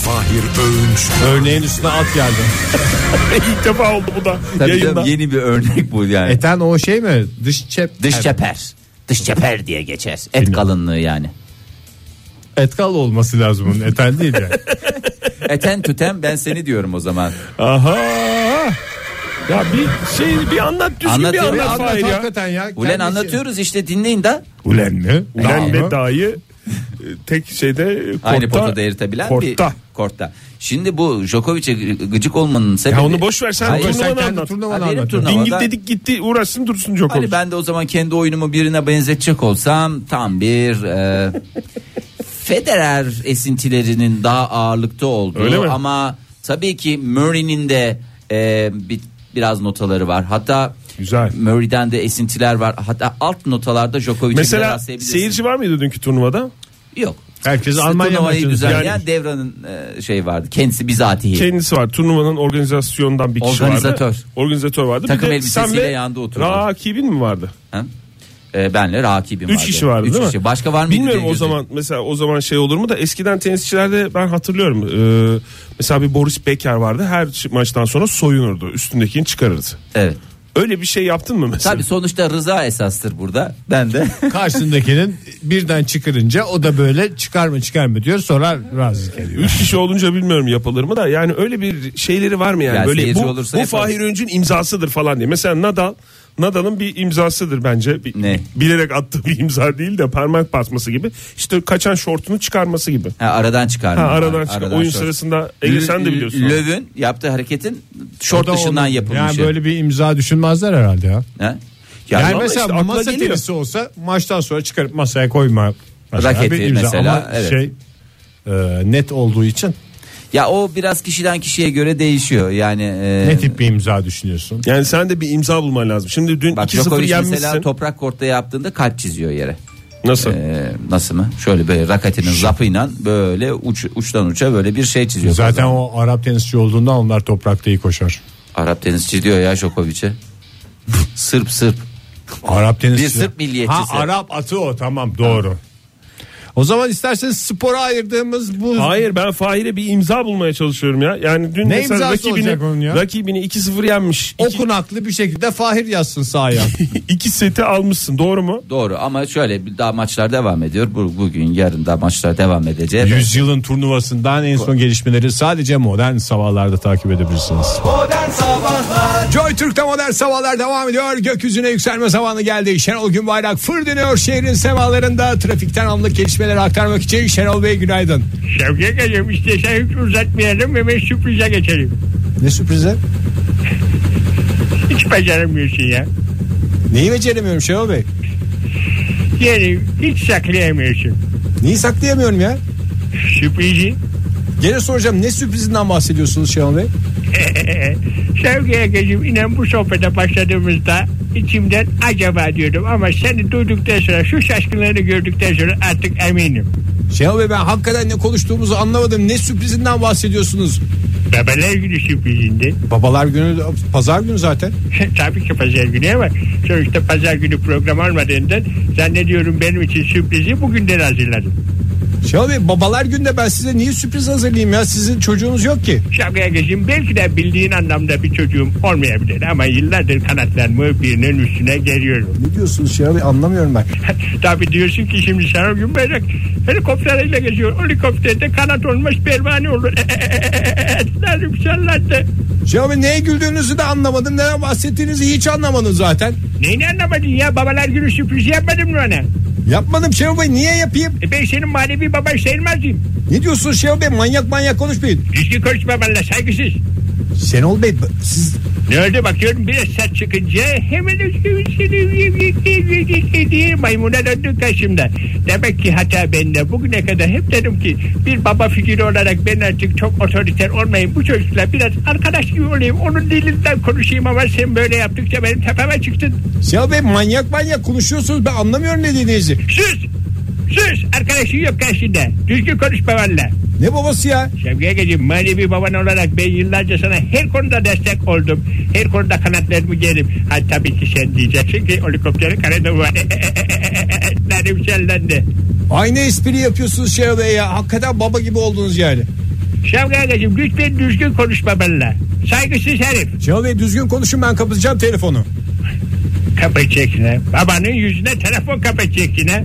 [SPEAKER 5] Fahir Öğünç.
[SPEAKER 2] Örneğin üstüne at geldi.
[SPEAKER 4] İlk defa oldu bu da
[SPEAKER 3] Tabii
[SPEAKER 4] yayında.
[SPEAKER 3] canım, yeni bir örnek bu yani.
[SPEAKER 2] Eten o şey mi? Dış çep.
[SPEAKER 3] Dış çeper. Dış çeper diye geçer. Et kalınlığı yani.
[SPEAKER 2] Etkal olması lazım onun. Eten değil yani.
[SPEAKER 3] Eten tüten ben seni diyorum o zaman.
[SPEAKER 4] Aha. Ya bir şey bir anlat düzgün
[SPEAKER 3] Anlatıyorum,
[SPEAKER 4] bir
[SPEAKER 2] Ya
[SPEAKER 4] anlat
[SPEAKER 2] anlat
[SPEAKER 4] Fahir ya.
[SPEAKER 2] hakikaten ya.
[SPEAKER 3] Ulen
[SPEAKER 2] Kendisi-
[SPEAKER 3] anlatıyoruz işte dinleyin da
[SPEAKER 2] Ulen mi?
[SPEAKER 4] Ben
[SPEAKER 2] Ulen
[SPEAKER 4] ve
[SPEAKER 2] mi?
[SPEAKER 4] dayı e, tek şeyde e, kortta.
[SPEAKER 3] aynı potada eritebilen bir
[SPEAKER 4] kortta.
[SPEAKER 3] kortta. Şimdi bu Djokovic'e gı- gıcık olmanın sebebi...
[SPEAKER 4] Ya onu boş ver sen
[SPEAKER 3] Hayır.
[SPEAKER 2] Sen
[SPEAKER 4] turnuvanı
[SPEAKER 2] kendi
[SPEAKER 4] anlat.
[SPEAKER 2] turnuvanı
[SPEAKER 3] Ha, benim
[SPEAKER 2] anlat.
[SPEAKER 3] turnuva-
[SPEAKER 4] Dingil
[SPEAKER 3] Ama ben-
[SPEAKER 4] dedik gitti uğraşsın dursun Djokovic.
[SPEAKER 3] Hani ben de o zaman kendi oyunumu birine benzetecek olsam tam bir e, Federer esintilerinin daha ağırlıkta olduğu
[SPEAKER 4] Öyle mi?
[SPEAKER 3] ama tabii ki Murray'nin de e, bir- biraz notaları var. Hatta
[SPEAKER 4] Güzel.
[SPEAKER 3] Murray'den de esintiler var. Hatta alt notalarda Djokovic'i
[SPEAKER 4] Mesela
[SPEAKER 3] biraz sevebilirsin.
[SPEAKER 4] seyirci var mıydı dünkü turnuvada?
[SPEAKER 3] yok.
[SPEAKER 2] Herkes
[SPEAKER 3] İşte
[SPEAKER 2] Almanya
[SPEAKER 3] turnuvayı
[SPEAKER 2] maçını
[SPEAKER 3] düzenleyen
[SPEAKER 4] yani.
[SPEAKER 3] Devran'ın e, şey vardı. Kendisi bizatihi.
[SPEAKER 4] Kendisi var. Turnuvanın organizasyondan bir kişi
[SPEAKER 3] Organizatör.
[SPEAKER 4] vardı. Organizatör vardı.
[SPEAKER 3] Takım
[SPEAKER 4] bir de
[SPEAKER 3] elbisesiyle
[SPEAKER 4] sen ve
[SPEAKER 3] yanda oturdu.
[SPEAKER 4] Rakibin mi vardı?
[SPEAKER 3] Ha? E, benle rakibim
[SPEAKER 4] Üç
[SPEAKER 3] vardı.
[SPEAKER 4] kişi vardı
[SPEAKER 3] Üç
[SPEAKER 4] değil
[SPEAKER 3] kişi.
[SPEAKER 4] mi?
[SPEAKER 3] Başka var mıydı?
[SPEAKER 4] Bilmiyorum
[SPEAKER 3] diye
[SPEAKER 4] o
[SPEAKER 3] gözüm-
[SPEAKER 4] zaman mesela o zaman şey olur mu da eskiden tenisçilerde ben hatırlıyorum. Ee, mesela bir Boris Becker vardı. Her ç- maçtan sonra soyunurdu. Üstündekini çıkarırdı.
[SPEAKER 3] Evet.
[SPEAKER 4] Öyle bir şey yaptın mı mesela?
[SPEAKER 3] Tabii sonuçta rıza esastır burada. Ben de
[SPEAKER 2] Karşısındakinin birden çıkarınca o da böyle çıkar mı çıkar mı diyor sonra razı geliyor.
[SPEAKER 4] Üç kişi olunca bilmiyorum yapılır mı da yani öyle bir şeyleri var mı yani?
[SPEAKER 3] Ya
[SPEAKER 4] Böyle bu,
[SPEAKER 3] seyirci
[SPEAKER 4] bu
[SPEAKER 3] olursa yaparız.
[SPEAKER 4] Fahir Öncü'nün imzasıdır falan diye. Mesela Nadal Nadal'ın bir imzasıdır bence. Bir-
[SPEAKER 3] Ne?
[SPEAKER 4] Bilerek attığı bir imza değil de parmak basması gibi. İşte kaçan şortunu çıkarması gibi.
[SPEAKER 3] Ha, aradan çıkarma.
[SPEAKER 4] Ha, aradan çıkar. Oyun
[SPEAKER 3] şort.
[SPEAKER 4] sırasında Ege sen de biliyorsun.
[SPEAKER 3] Löv'ün yaptığı hareketin şort
[SPEAKER 2] O da
[SPEAKER 3] dışından
[SPEAKER 2] onun-
[SPEAKER 3] yapılmış.
[SPEAKER 2] Yani böyle bir imza düşünmezler herhalde ya.
[SPEAKER 3] Ha?
[SPEAKER 2] Yani,
[SPEAKER 3] ama
[SPEAKER 2] mesela
[SPEAKER 4] işte akla
[SPEAKER 2] masa
[SPEAKER 4] geliyor.
[SPEAKER 2] tenisi olsa maçtan sonra çıkarıp masaya koyma. Mesela
[SPEAKER 3] Raketi
[SPEAKER 2] bir imza.
[SPEAKER 3] mesela,
[SPEAKER 2] Ama
[SPEAKER 3] evet.
[SPEAKER 2] şey e, net olduğu için
[SPEAKER 3] ya o biraz kişiden kişiye göre değişiyor. Yani e,
[SPEAKER 2] ne tip bir imza düşünüyorsun?
[SPEAKER 4] Yani sen de bir imza bulman lazım. Şimdi dün
[SPEAKER 3] bak
[SPEAKER 4] 2-0
[SPEAKER 3] Djokovic
[SPEAKER 4] yenmişsin.
[SPEAKER 3] mesela toprak kortta yaptığında kalp çiziyor yere.
[SPEAKER 4] Nasıl?
[SPEAKER 3] E, nasıl mı? Şöyle böyle raketinin zapıyla böyle uç, uçtan uça böyle bir şey çiziyor.
[SPEAKER 2] Zaten o Arap tenisçi olduğundan onlar toprakta iyi koşar.
[SPEAKER 3] Arap tenisçi diyor ya Djokovic'e. Sırp Sırp.
[SPEAKER 2] Arap tenisçi.
[SPEAKER 3] Bir Sırp milliyetçisi.
[SPEAKER 2] Ha Arap atı o tamam doğru. O zaman isterseniz spora ayırdığımız bu
[SPEAKER 4] Hayır ben Fahir'e bir imza bulmaya çalışıyorum ya. Yani dün
[SPEAKER 2] Ne
[SPEAKER 4] mesela
[SPEAKER 2] imzası olacak onun
[SPEAKER 4] rakibini,
[SPEAKER 2] ya?
[SPEAKER 4] rakibini 2-0 yenmiş.
[SPEAKER 2] o kunaklı bir şekilde Fahir yazsın sahaya.
[SPEAKER 4] 2 seti almışsın doğru mu?
[SPEAKER 3] Doğru ama şöyle bir daha maçlar devam ediyor. Bu, bugün yarın da maçlar devam edecek.
[SPEAKER 2] Yüzyılın turnuvasından en son gelişmeleri sadece modern sabahlarda takip edebilirsiniz. Joy Türk'te modern sabahlar devam ediyor. Gökyüzüne yükselme zamanı geldi. Şenol Günbayrak fır dönüyor şehrin semalarında. Trafikten anlık gelişmeleri aktarmak için Şenol Bey günaydın.
[SPEAKER 6] Şevket Hocam istersen hiç uzatmayalım hemen sürprize geçelim.
[SPEAKER 2] Ne sürprize?
[SPEAKER 6] Hiç beceremiyorsun ya.
[SPEAKER 2] Neyi beceremiyorum Şenol Bey?
[SPEAKER 6] Yani hiç saklayamıyorsun.
[SPEAKER 2] Neyi saklayamıyorum ya?
[SPEAKER 6] Sürprizi.
[SPEAKER 2] Gene soracağım ne sürprizinden bahsediyorsunuz Şenol Bey?
[SPEAKER 6] Şevket Hocam inan bu sohbete başladığımızda içimden acaba diyordum ama seni duyduktan sonra şu şaşkınlığını gördükten sonra artık eminim.
[SPEAKER 2] Şenol Bey ben hakikaten ne konuştuğumuzu anlamadım. Ne sürprizinden bahsediyorsunuz?
[SPEAKER 6] Babalar günü sürprizinde.
[SPEAKER 2] Babalar günü pazar günü zaten.
[SPEAKER 6] Tabii ki pazar günü ama sonuçta pazar günü program olmadığından zannediyorum benim için sürprizi bugünden hazırladım.
[SPEAKER 2] Şenol Bey babalar günde ben size niye sürpriz hazırlayayım ya? Sizin çocuğunuz yok ki.
[SPEAKER 6] Şapkaya geçeyim. Belki de bildiğin anlamda bir çocuğum olmayabilir ama yıllardır kanatlarımı birinin üstüne geriyorum.
[SPEAKER 2] Ne diyorsunuz Şenol Bey anlamıyorum ben.
[SPEAKER 6] Tabi diyorsun ki şimdi Şenol Gümberek helikopterle geziyor. Helikopterde kanat olmuş pervane olur. Etlerim şerlendi.
[SPEAKER 2] Şenol Bey neye güldüğünüzü de anlamadım. Neden bahsettiğinizi hiç anlamadım zaten.
[SPEAKER 6] Neyini anlamadın ya? Babalar günü sürpriz yapmadım mı ona?
[SPEAKER 2] Yapmadım Şenol Bey niye yapayım?
[SPEAKER 6] E ben senin manevi baban sayılmaz mıyım?
[SPEAKER 2] Ne diyorsunuz Şenol Bey manyak manyak konuşmayın.
[SPEAKER 6] Düzgün konuş babanla saygısız.
[SPEAKER 2] Şenol Bey siz
[SPEAKER 6] Ne oldu bakıyorum biraz saç çıkınca hemen üstümüzü diye maymuna döndük karşımda. Demek ki hata bende. Bugüne kadar hep dedim ki bir baba figürü olarak ben artık çok otoriter olmayayım. Bu çocukla biraz arkadaş gibi olayım. Onun dilinden konuşayım ama sen böyle yaptıkça benim tepeme çıktın.
[SPEAKER 2] Şenol Bey manyak manyak konuşuyorsunuz. Ben anlamıyorum ne dediğinizi.
[SPEAKER 6] Sus! Sus! Arkadaşın yok karşında. Düzgün konuş babanla.
[SPEAKER 2] Ne babası ya?
[SPEAKER 6] Şevki Egeciğim manevi baban olarak ben yıllarca sana her konuda destek oldum. Her konuda kanatlarımı gerim. Ha tabii ki sen diyeceksin ki helikopterin kanadı var. Etlerim şellendi.
[SPEAKER 2] Aynı espri yapıyorsunuz Şenol Bey ya. Hakikaten baba gibi oldunuz yani.
[SPEAKER 6] Şevki Egeciğim lütfen düzgün konuş babanla. Saygısız herif.
[SPEAKER 2] Şenol Bey düzgün konuşun ben kapatacağım telefonu.
[SPEAKER 6] Kapatacaksın ha. Babanın yüzüne telefon kapatacaksın ha.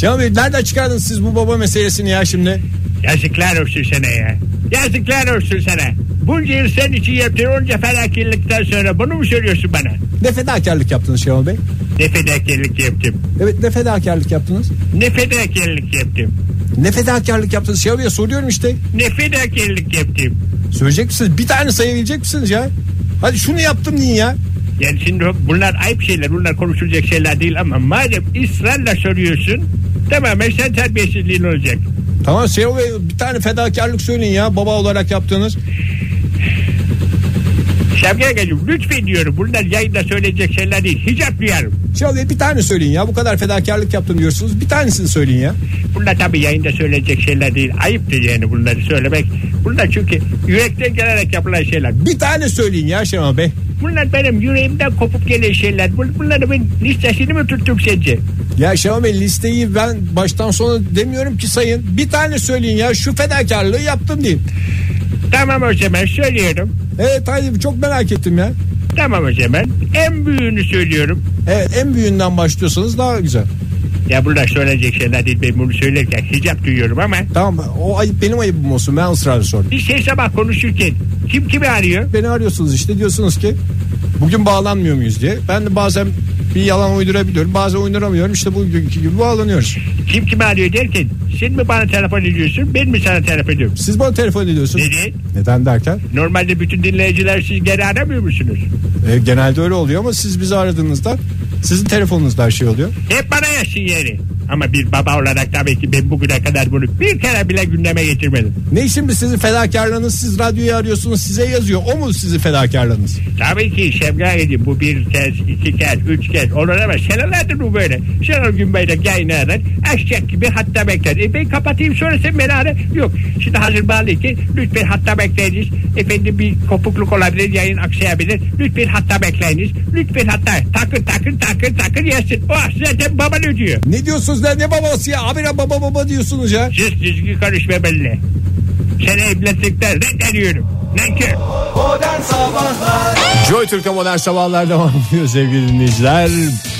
[SPEAKER 2] Şenol Bey nereden çıkardınız siz bu baba meselesini ya şimdi?
[SPEAKER 6] Yazıklar olsun sana ya. Yazıklar olsun sana. Bunca yıl sen için yaptığın onca felaketlikten sonra bunu mu söylüyorsun bana?
[SPEAKER 2] Ne fedakarlık yaptınız Şenol Bey?
[SPEAKER 6] Ne fedakarlık yaptım.
[SPEAKER 2] Evet ne fedakarlık yaptınız?
[SPEAKER 6] Ne fedakarlık yaptım.
[SPEAKER 2] Ne fedakarlık yaptınız Şenol Bey'e soruyorum işte.
[SPEAKER 6] Ne fedakarlık yaptım.
[SPEAKER 2] Söyleyecek misiniz? Bir tane sayabilecek misiniz ya? Hadi şunu yaptım deyin ya.
[SPEAKER 6] Yani şimdi bunlar ayıp şeyler, bunlar konuşulacak şeyler değil ama madem ısrarla soruyorsun, tamamen sen terbiyesizliğin olacak.
[SPEAKER 2] Tamam Şenol Bey bir tane fedakarlık söyleyin ya baba olarak yaptığınız.
[SPEAKER 6] Şevki Agacım lütfen diyorum bunlar yayında söyleyecek şeyler değil. Hicap duyarım.
[SPEAKER 2] Şenol Bey bir tane söyleyin ya bu kadar fedakarlık yaptım diyorsunuz. Bir tanesini söyleyin ya.
[SPEAKER 6] Bunlar tabii yayında söyleyecek şeyler değil. Ayıptır yani bunları söylemek. Bunlar çünkü yürekten gelerek yapılan şeyler.
[SPEAKER 2] Bir tane söyleyin ya Şenol Bey.
[SPEAKER 6] Bunlar benim yüreğimden kopup gelen şeyler. Bun- Bunları ben listesini mi tuttum sence?
[SPEAKER 2] Ya Şenol Bey listeyi ben baştan sona demiyorum ki sayın. Bir tane söyleyin ya şu fedakarlığı yaptım deyin.
[SPEAKER 6] Tamam o zaman söylüyorum.
[SPEAKER 2] Evet haydi çok merak ettim ya.
[SPEAKER 6] Tamam o zaman. En büyüğünü söylüyorum.
[SPEAKER 2] Evet en büyüğünden başlıyorsanız daha güzel.
[SPEAKER 6] Ya bunlar söyleyecek şeyler değil ben bunu söylerken hicap duyuyorum ama
[SPEAKER 2] Tamam o ayıp benim ayıbım olsun ben ısrarla sordum.
[SPEAKER 6] bir şey sabah konuşurken kim kimi arıyor?
[SPEAKER 2] Beni arıyorsunuz işte diyorsunuz ki bugün bağlanmıyor muyuz diye. Ben de bazen bir yalan uydurabiliyorum bazen uyduramıyorum işte bugünkü gibi bağlanıyoruz.
[SPEAKER 6] Kim kimi arıyor derken sen mi bana telefon ediyorsun ben mi sana telefon ediyorum?
[SPEAKER 2] Siz bana telefon ediyorsunuz.
[SPEAKER 6] Neden?
[SPEAKER 2] Neden derken?
[SPEAKER 6] Normalde bütün dinleyiciler siz geri aramıyor musunuz?
[SPEAKER 2] E, genelde öyle oluyor ama siz bizi aradığınızda sizin telefonunuzda her şey oluyor.
[SPEAKER 6] Hep bana yaşın yeri. Ama bir baba olarak tabii ki ben bugüne kadar bunu bir kere bile gündeme getirmedim.
[SPEAKER 2] Ne şimdi sizin fedakarlığınız siz radyoyu arıyorsunuz size yazıyor o mu sizin fedakarlığınız?
[SPEAKER 6] Tabii ki Şevga'ydı bu bir kez, iki kez, üç kez olur ama senelerdir bu böyle. Şenol Günbey'le yayınlayarak eşek gibi hatta bekler. E ben kapatayım sonra sen beni ara. Yok şimdi hazır bağlı ki lütfen hatta bekleyiniz. Efendim bir kopukluk olabilir yayın aksayabilir. Lütfen hatta bekleyiniz. Lütfen hatta takır takır takır takır yesin. Oh zaten baban ödüyor.
[SPEAKER 2] Ne diyorsunuz diyorsunuz ne ne babası ya? Abire baba baba diyorsunuz ya.
[SPEAKER 6] Siz düzgün konuşma benimle. Seni evlatlıktan reddediyorum. Nankör.
[SPEAKER 2] Joy Türk'te modern sabahlar devam ediyor sevgili dinleyiciler.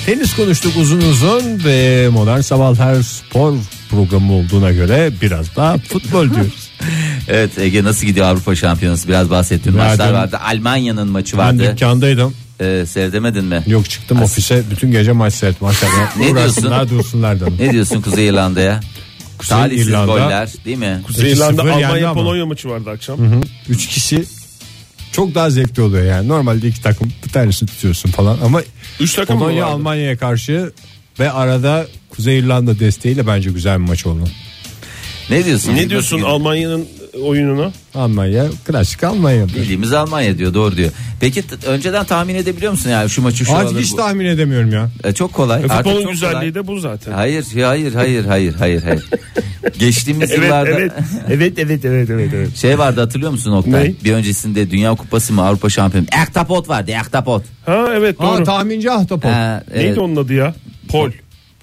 [SPEAKER 2] Tenis konuştuk uzun uzun ve modern sabahlar spor programı olduğuna göre biraz daha futbol diyoruz.
[SPEAKER 3] Evet Ege nasıl gidiyor Avrupa Şampiyonası? Biraz bahsettiğin
[SPEAKER 2] Nereden?
[SPEAKER 3] maçlar vardı. Almanya'nın maçı
[SPEAKER 2] ben
[SPEAKER 3] vardı.
[SPEAKER 2] dükkandaydım.
[SPEAKER 3] Ee, seyredemedin mi?
[SPEAKER 2] Yok çıktım ofise bütün gece maç seyrettim. Hakikaten
[SPEAKER 3] Ne
[SPEAKER 2] Uğraşsınlar dursunlar dedim.
[SPEAKER 3] Ne diyorsun Kuzey İrlanda'ya?
[SPEAKER 2] Kuzey
[SPEAKER 3] Talihsiz
[SPEAKER 2] İrlanda.
[SPEAKER 3] goller değil mi?
[SPEAKER 4] Kuzey
[SPEAKER 2] İki
[SPEAKER 4] İrlanda
[SPEAKER 2] sıfır yendi
[SPEAKER 4] Almanya
[SPEAKER 2] ama.
[SPEAKER 4] Polonya maçı vardı akşam.
[SPEAKER 2] Üç kişi çok daha zevkli oluyor yani. Normalde iki takım bir tanesini tutuyorsun falan ama
[SPEAKER 4] Üç takım mı
[SPEAKER 2] Polonya
[SPEAKER 4] vardı?
[SPEAKER 2] Almanya'ya karşı ve arada Kuzey İrlanda desteğiyle bence güzel bir maç oldu.
[SPEAKER 3] Ne diyorsun?
[SPEAKER 4] Ne diyorsun
[SPEAKER 3] Nasıl gidiyor?
[SPEAKER 4] Almanya'nın oyununa?
[SPEAKER 2] Almanya klasik Almanya.
[SPEAKER 3] Bildiğimiz Almanya diyor doğru diyor. Peki t- önceden tahmin edebiliyor musun yani şu maçı şu
[SPEAKER 2] Artık
[SPEAKER 3] alır,
[SPEAKER 2] hiç
[SPEAKER 3] bu-
[SPEAKER 2] tahmin edemiyorum ya.
[SPEAKER 3] E, çok kolay.
[SPEAKER 4] E,
[SPEAKER 3] Artık
[SPEAKER 4] futbolun
[SPEAKER 3] çok
[SPEAKER 4] güzelliği
[SPEAKER 3] kolay.
[SPEAKER 4] de bu zaten.
[SPEAKER 3] Hayır hayır hayır hayır hayır hayır. Geçtiğimiz
[SPEAKER 4] Evet,
[SPEAKER 3] yıllarda
[SPEAKER 4] evet evet evet evet evet evet.
[SPEAKER 3] şey vardı hatırlıyor musun Oktay?
[SPEAKER 4] Ne?
[SPEAKER 3] Bir öncesinde Dünya Kupası mı Avrupa Şampiyonu? Ektapot vardı Ektapot.
[SPEAKER 4] Ha evet doğru.
[SPEAKER 2] Aa tahminci ahtapot.
[SPEAKER 3] Ha,
[SPEAKER 4] Neydi
[SPEAKER 3] evet. Ah,
[SPEAKER 4] onun adı ya? Pol.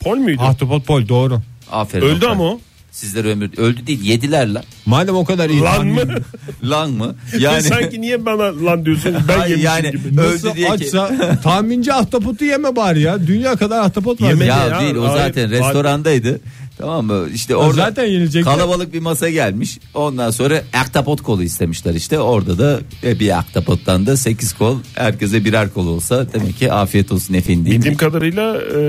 [SPEAKER 4] Pol müydü?
[SPEAKER 2] Ahtapot pol doğru.
[SPEAKER 3] Aferin.
[SPEAKER 4] Öldü
[SPEAKER 3] Oktay.
[SPEAKER 4] ama o.
[SPEAKER 3] Sizler ömür öldü değil yediler lan.
[SPEAKER 2] Madem o kadar iyi
[SPEAKER 4] Lan
[SPEAKER 2] tahmin-
[SPEAKER 4] mı?
[SPEAKER 3] Lan mı? Yani
[SPEAKER 4] Sanki niye bana lan diyorsun? Ben
[SPEAKER 3] Hayır,
[SPEAKER 4] yemişim
[SPEAKER 3] yani
[SPEAKER 4] gibi.
[SPEAKER 3] öldü
[SPEAKER 2] Nasıl
[SPEAKER 3] diye ki.
[SPEAKER 2] açsa tahminci ahtapotu yeme bari ya. Dünya kadar ahtapot var.
[SPEAKER 4] Yemedi
[SPEAKER 2] Ya.
[SPEAKER 3] ya,
[SPEAKER 4] ya,
[SPEAKER 3] değil o
[SPEAKER 4] hayır,
[SPEAKER 3] zaten
[SPEAKER 4] hayır.
[SPEAKER 3] restorandaydı. Tamam mı? İşte
[SPEAKER 2] O
[SPEAKER 3] orada
[SPEAKER 2] zaten yenilecek.
[SPEAKER 3] kalabalık bir masa gelmiş. Ondan sonra aktapot kolu istemişler işte. Orada da e, bir aktapottan da 8 kol herkese birer kol olsa demek ki afiyet olsun
[SPEAKER 4] Bildiğim
[SPEAKER 3] efendim.
[SPEAKER 4] kadarıyla e,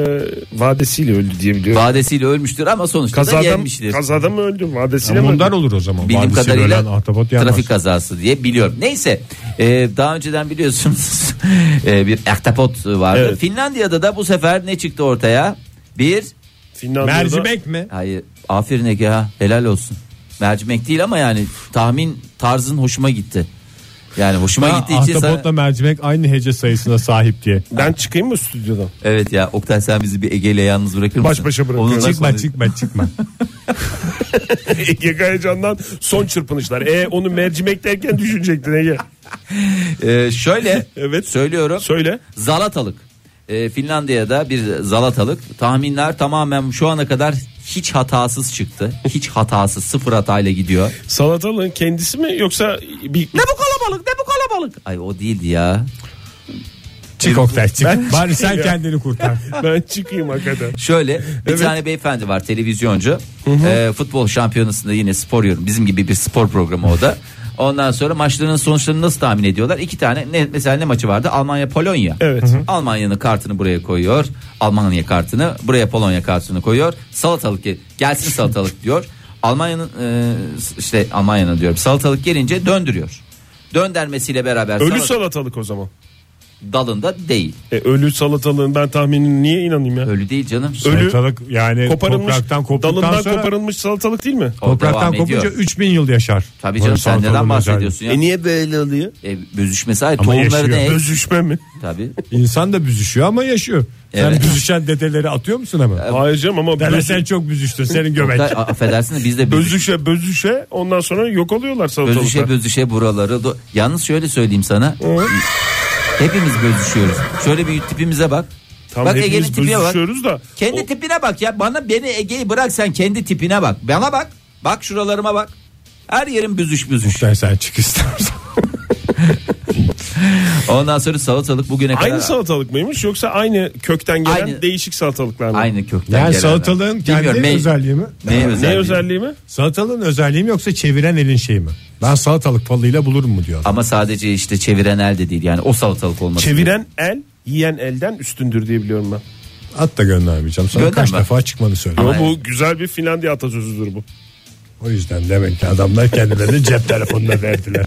[SPEAKER 4] vadesiyle öldü diye biliyorum.
[SPEAKER 3] Vadesiyle ölmüştür ama sonuçta da
[SPEAKER 4] Kazada,
[SPEAKER 3] yenmiştir.
[SPEAKER 4] kazada mı öldü? Vadesiyle mi öldü?
[SPEAKER 2] Bundan olur o zaman.
[SPEAKER 3] Bildiğim
[SPEAKER 2] Vadisiyle
[SPEAKER 3] kadarıyla
[SPEAKER 2] ölen ahtapot yanmaz.
[SPEAKER 3] trafik kazası diye biliyorum. Neyse e, daha önceden biliyorsunuz e, bir aktapot vardı.
[SPEAKER 4] Evet.
[SPEAKER 3] Finlandiya'da da bu sefer ne çıktı ortaya? Bir
[SPEAKER 4] Finlandiya'da
[SPEAKER 2] Mercimek mi?
[SPEAKER 3] Hayır. Aferin Ege ha. Helal olsun. Mercimek değil ama yani tahmin tarzın hoşuma gitti. Yani hoşuma
[SPEAKER 2] Ha,
[SPEAKER 3] gittiği için sana...
[SPEAKER 2] Ahtapotla mercimek aynı hece sayısına sahip diye.
[SPEAKER 4] Ben çıkayım mı stüdyodan?
[SPEAKER 3] Evet ya Oktay sen bizi bir Ege'yle yalnız bırakır mısın?
[SPEAKER 4] Baş başa bırakıyorum.
[SPEAKER 3] Onunla
[SPEAKER 2] Çıkma
[SPEAKER 3] konuş-
[SPEAKER 2] çıkma çıkma.
[SPEAKER 4] Ege Kayacan'dan son çırpınışlar. E onu mercimek derken düşünecektin Ege.
[SPEAKER 3] Ee, şöyle
[SPEAKER 4] Evet.
[SPEAKER 3] söylüyorum.
[SPEAKER 4] Söyle.
[SPEAKER 3] Zalatalık. Ee, Finlandiya'da bir Zalatalık. Tahminler tamamen şu ana kadar hiç hatasız çıktı. Hiç hatasız sıfır hatayla gidiyor.
[SPEAKER 4] Salatalığın kendisi mi yoksa bir...
[SPEAKER 3] ne bu kalabalık ne bu kalabalık. Ay o değildi ya.
[SPEAKER 2] çık Oktay çık.
[SPEAKER 4] Ben-
[SPEAKER 2] Bari sen
[SPEAKER 4] Ya.
[SPEAKER 2] kendini kurtar.
[SPEAKER 4] Ben çıkayım hakikaten.
[SPEAKER 3] Şöyle bir tane beyefendi var televizyoncu. Ee, futbol şampiyonasında yine spor yorum. Bizim gibi bir spor programı o da. Ondan sonra maçların sonuçlarını nasıl tahmin ediyorlar? İki tane ne, mesela ne maçı vardı? Almanya Polonya.
[SPEAKER 4] Evet. Hı hı.
[SPEAKER 3] Almanya'nın kartını buraya koyuyor. Almanya kartını buraya Polonya kartını koyuyor. Salatalık ge- gelsin salatalık diyor. Almanya'nın e, işte Almanya'nın diyorum. Salatalık gelince döndürüyor. Döndürmesiyle beraber
[SPEAKER 4] Ölü
[SPEAKER 3] salatalık
[SPEAKER 4] salatalık o zaman.
[SPEAKER 3] dalında değil.
[SPEAKER 4] E, ölü salatalığın ben tahminini niye inanayım ya?
[SPEAKER 3] Ölü değil canım.
[SPEAKER 4] Ölü
[SPEAKER 2] Salatalık yani
[SPEAKER 4] koparılmış,
[SPEAKER 2] topraktan koptuktan
[SPEAKER 4] dalından
[SPEAKER 2] sonra
[SPEAKER 4] koparılmış salatalık değil mi?
[SPEAKER 3] O devam
[SPEAKER 2] topraktan
[SPEAKER 3] ediyor.
[SPEAKER 2] kopunca 3000 yıl yaşar.
[SPEAKER 3] Tabii
[SPEAKER 2] Böyle
[SPEAKER 3] canım sen neden
[SPEAKER 2] salatalığın
[SPEAKER 3] bahsediyorsun ya?
[SPEAKER 4] niye böyle oluyor?
[SPEAKER 3] E, büzüşmesi hayır
[SPEAKER 2] Ama
[SPEAKER 3] tohumları
[SPEAKER 2] yaşıyor.
[SPEAKER 3] ne?
[SPEAKER 4] Özüşme mi?
[SPEAKER 3] Tabii.
[SPEAKER 2] özelliği. İnsan da büzüşüyor ama yaşıyor.
[SPEAKER 3] Evet.
[SPEAKER 2] Sen büzüşen dedeleri atıyor musun ama?
[SPEAKER 4] Hayır canım ama
[SPEAKER 2] Dede
[SPEAKER 4] bözü-
[SPEAKER 2] sen çok büzüştün senin göbek.
[SPEAKER 3] A- Affedersiniz biz de büzüş,
[SPEAKER 4] bözüşe bözüşe ondan sonra yok oluyorlar
[SPEAKER 3] bözüşe
[SPEAKER 4] salatalıklar.
[SPEAKER 3] bözüşe buraları. do- Yalnız şöyle söyleyeyim sana. Hepimiz bözüşüyoruz. Şöyle bir tipimize bak.
[SPEAKER 4] Tam
[SPEAKER 3] bak Ege'nin
[SPEAKER 4] hepimiz
[SPEAKER 3] tipine bak.
[SPEAKER 4] bözüşüyoruz da.
[SPEAKER 3] Kendi
[SPEAKER 4] O-
[SPEAKER 3] tipine bak ya. Bana beni Ege'yi bırak sen kendi tipine bak. Bana bak. Bak şuralarıma bak. Her yerim büzüş büzüş.
[SPEAKER 2] Sen sen çık istersen.
[SPEAKER 3] Ondan sonra salatalık bugüne kadar
[SPEAKER 4] Aynı salatalık mıymış yoksa aynı kökten gelen
[SPEAKER 3] Ee, Aynı.
[SPEAKER 4] değişik salatalıklar mı?
[SPEAKER 3] aynı kökten
[SPEAKER 2] Yani
[SPEAKER 3] gelenler.
[SPEAKER 2] salatalığın kendi
[SPEAKER 3] Bilmiyorum, ne-
[SPEAKER 2] özelliği mi?
[SPEAKER 3] Ne özelliği?
[SPEAKER 4] Ne özelliği mi?
[SPEAKER 2] Salatalığın özelliği mi yoksa çeviren elin şeyi mi? Ben salatalık falıyla bulurum mu diyor.
[SPEAKER 3] Ama sadece işte çeviren el de değil yani o salatalık olması.
[SPEAKER 4] Çeviren el yiyen elden üstündür diye biliyorum ben.
[SPEAKER 2] At da göndermeyeceğim. Sana
[SPEAKER 3] Gönderme.
[SPEAKER 2] kaç defa çıkmanı söyle.
[SPEAKER 4] Yo,
[SPEAKER 3] Aynen.
[SPEAKER 4] bu güzel bir Finlandiya atasözüdür bu.
[SPEAKER 2] O yüzden demek ki adamlar kendilerini cep telefonuna verdiler.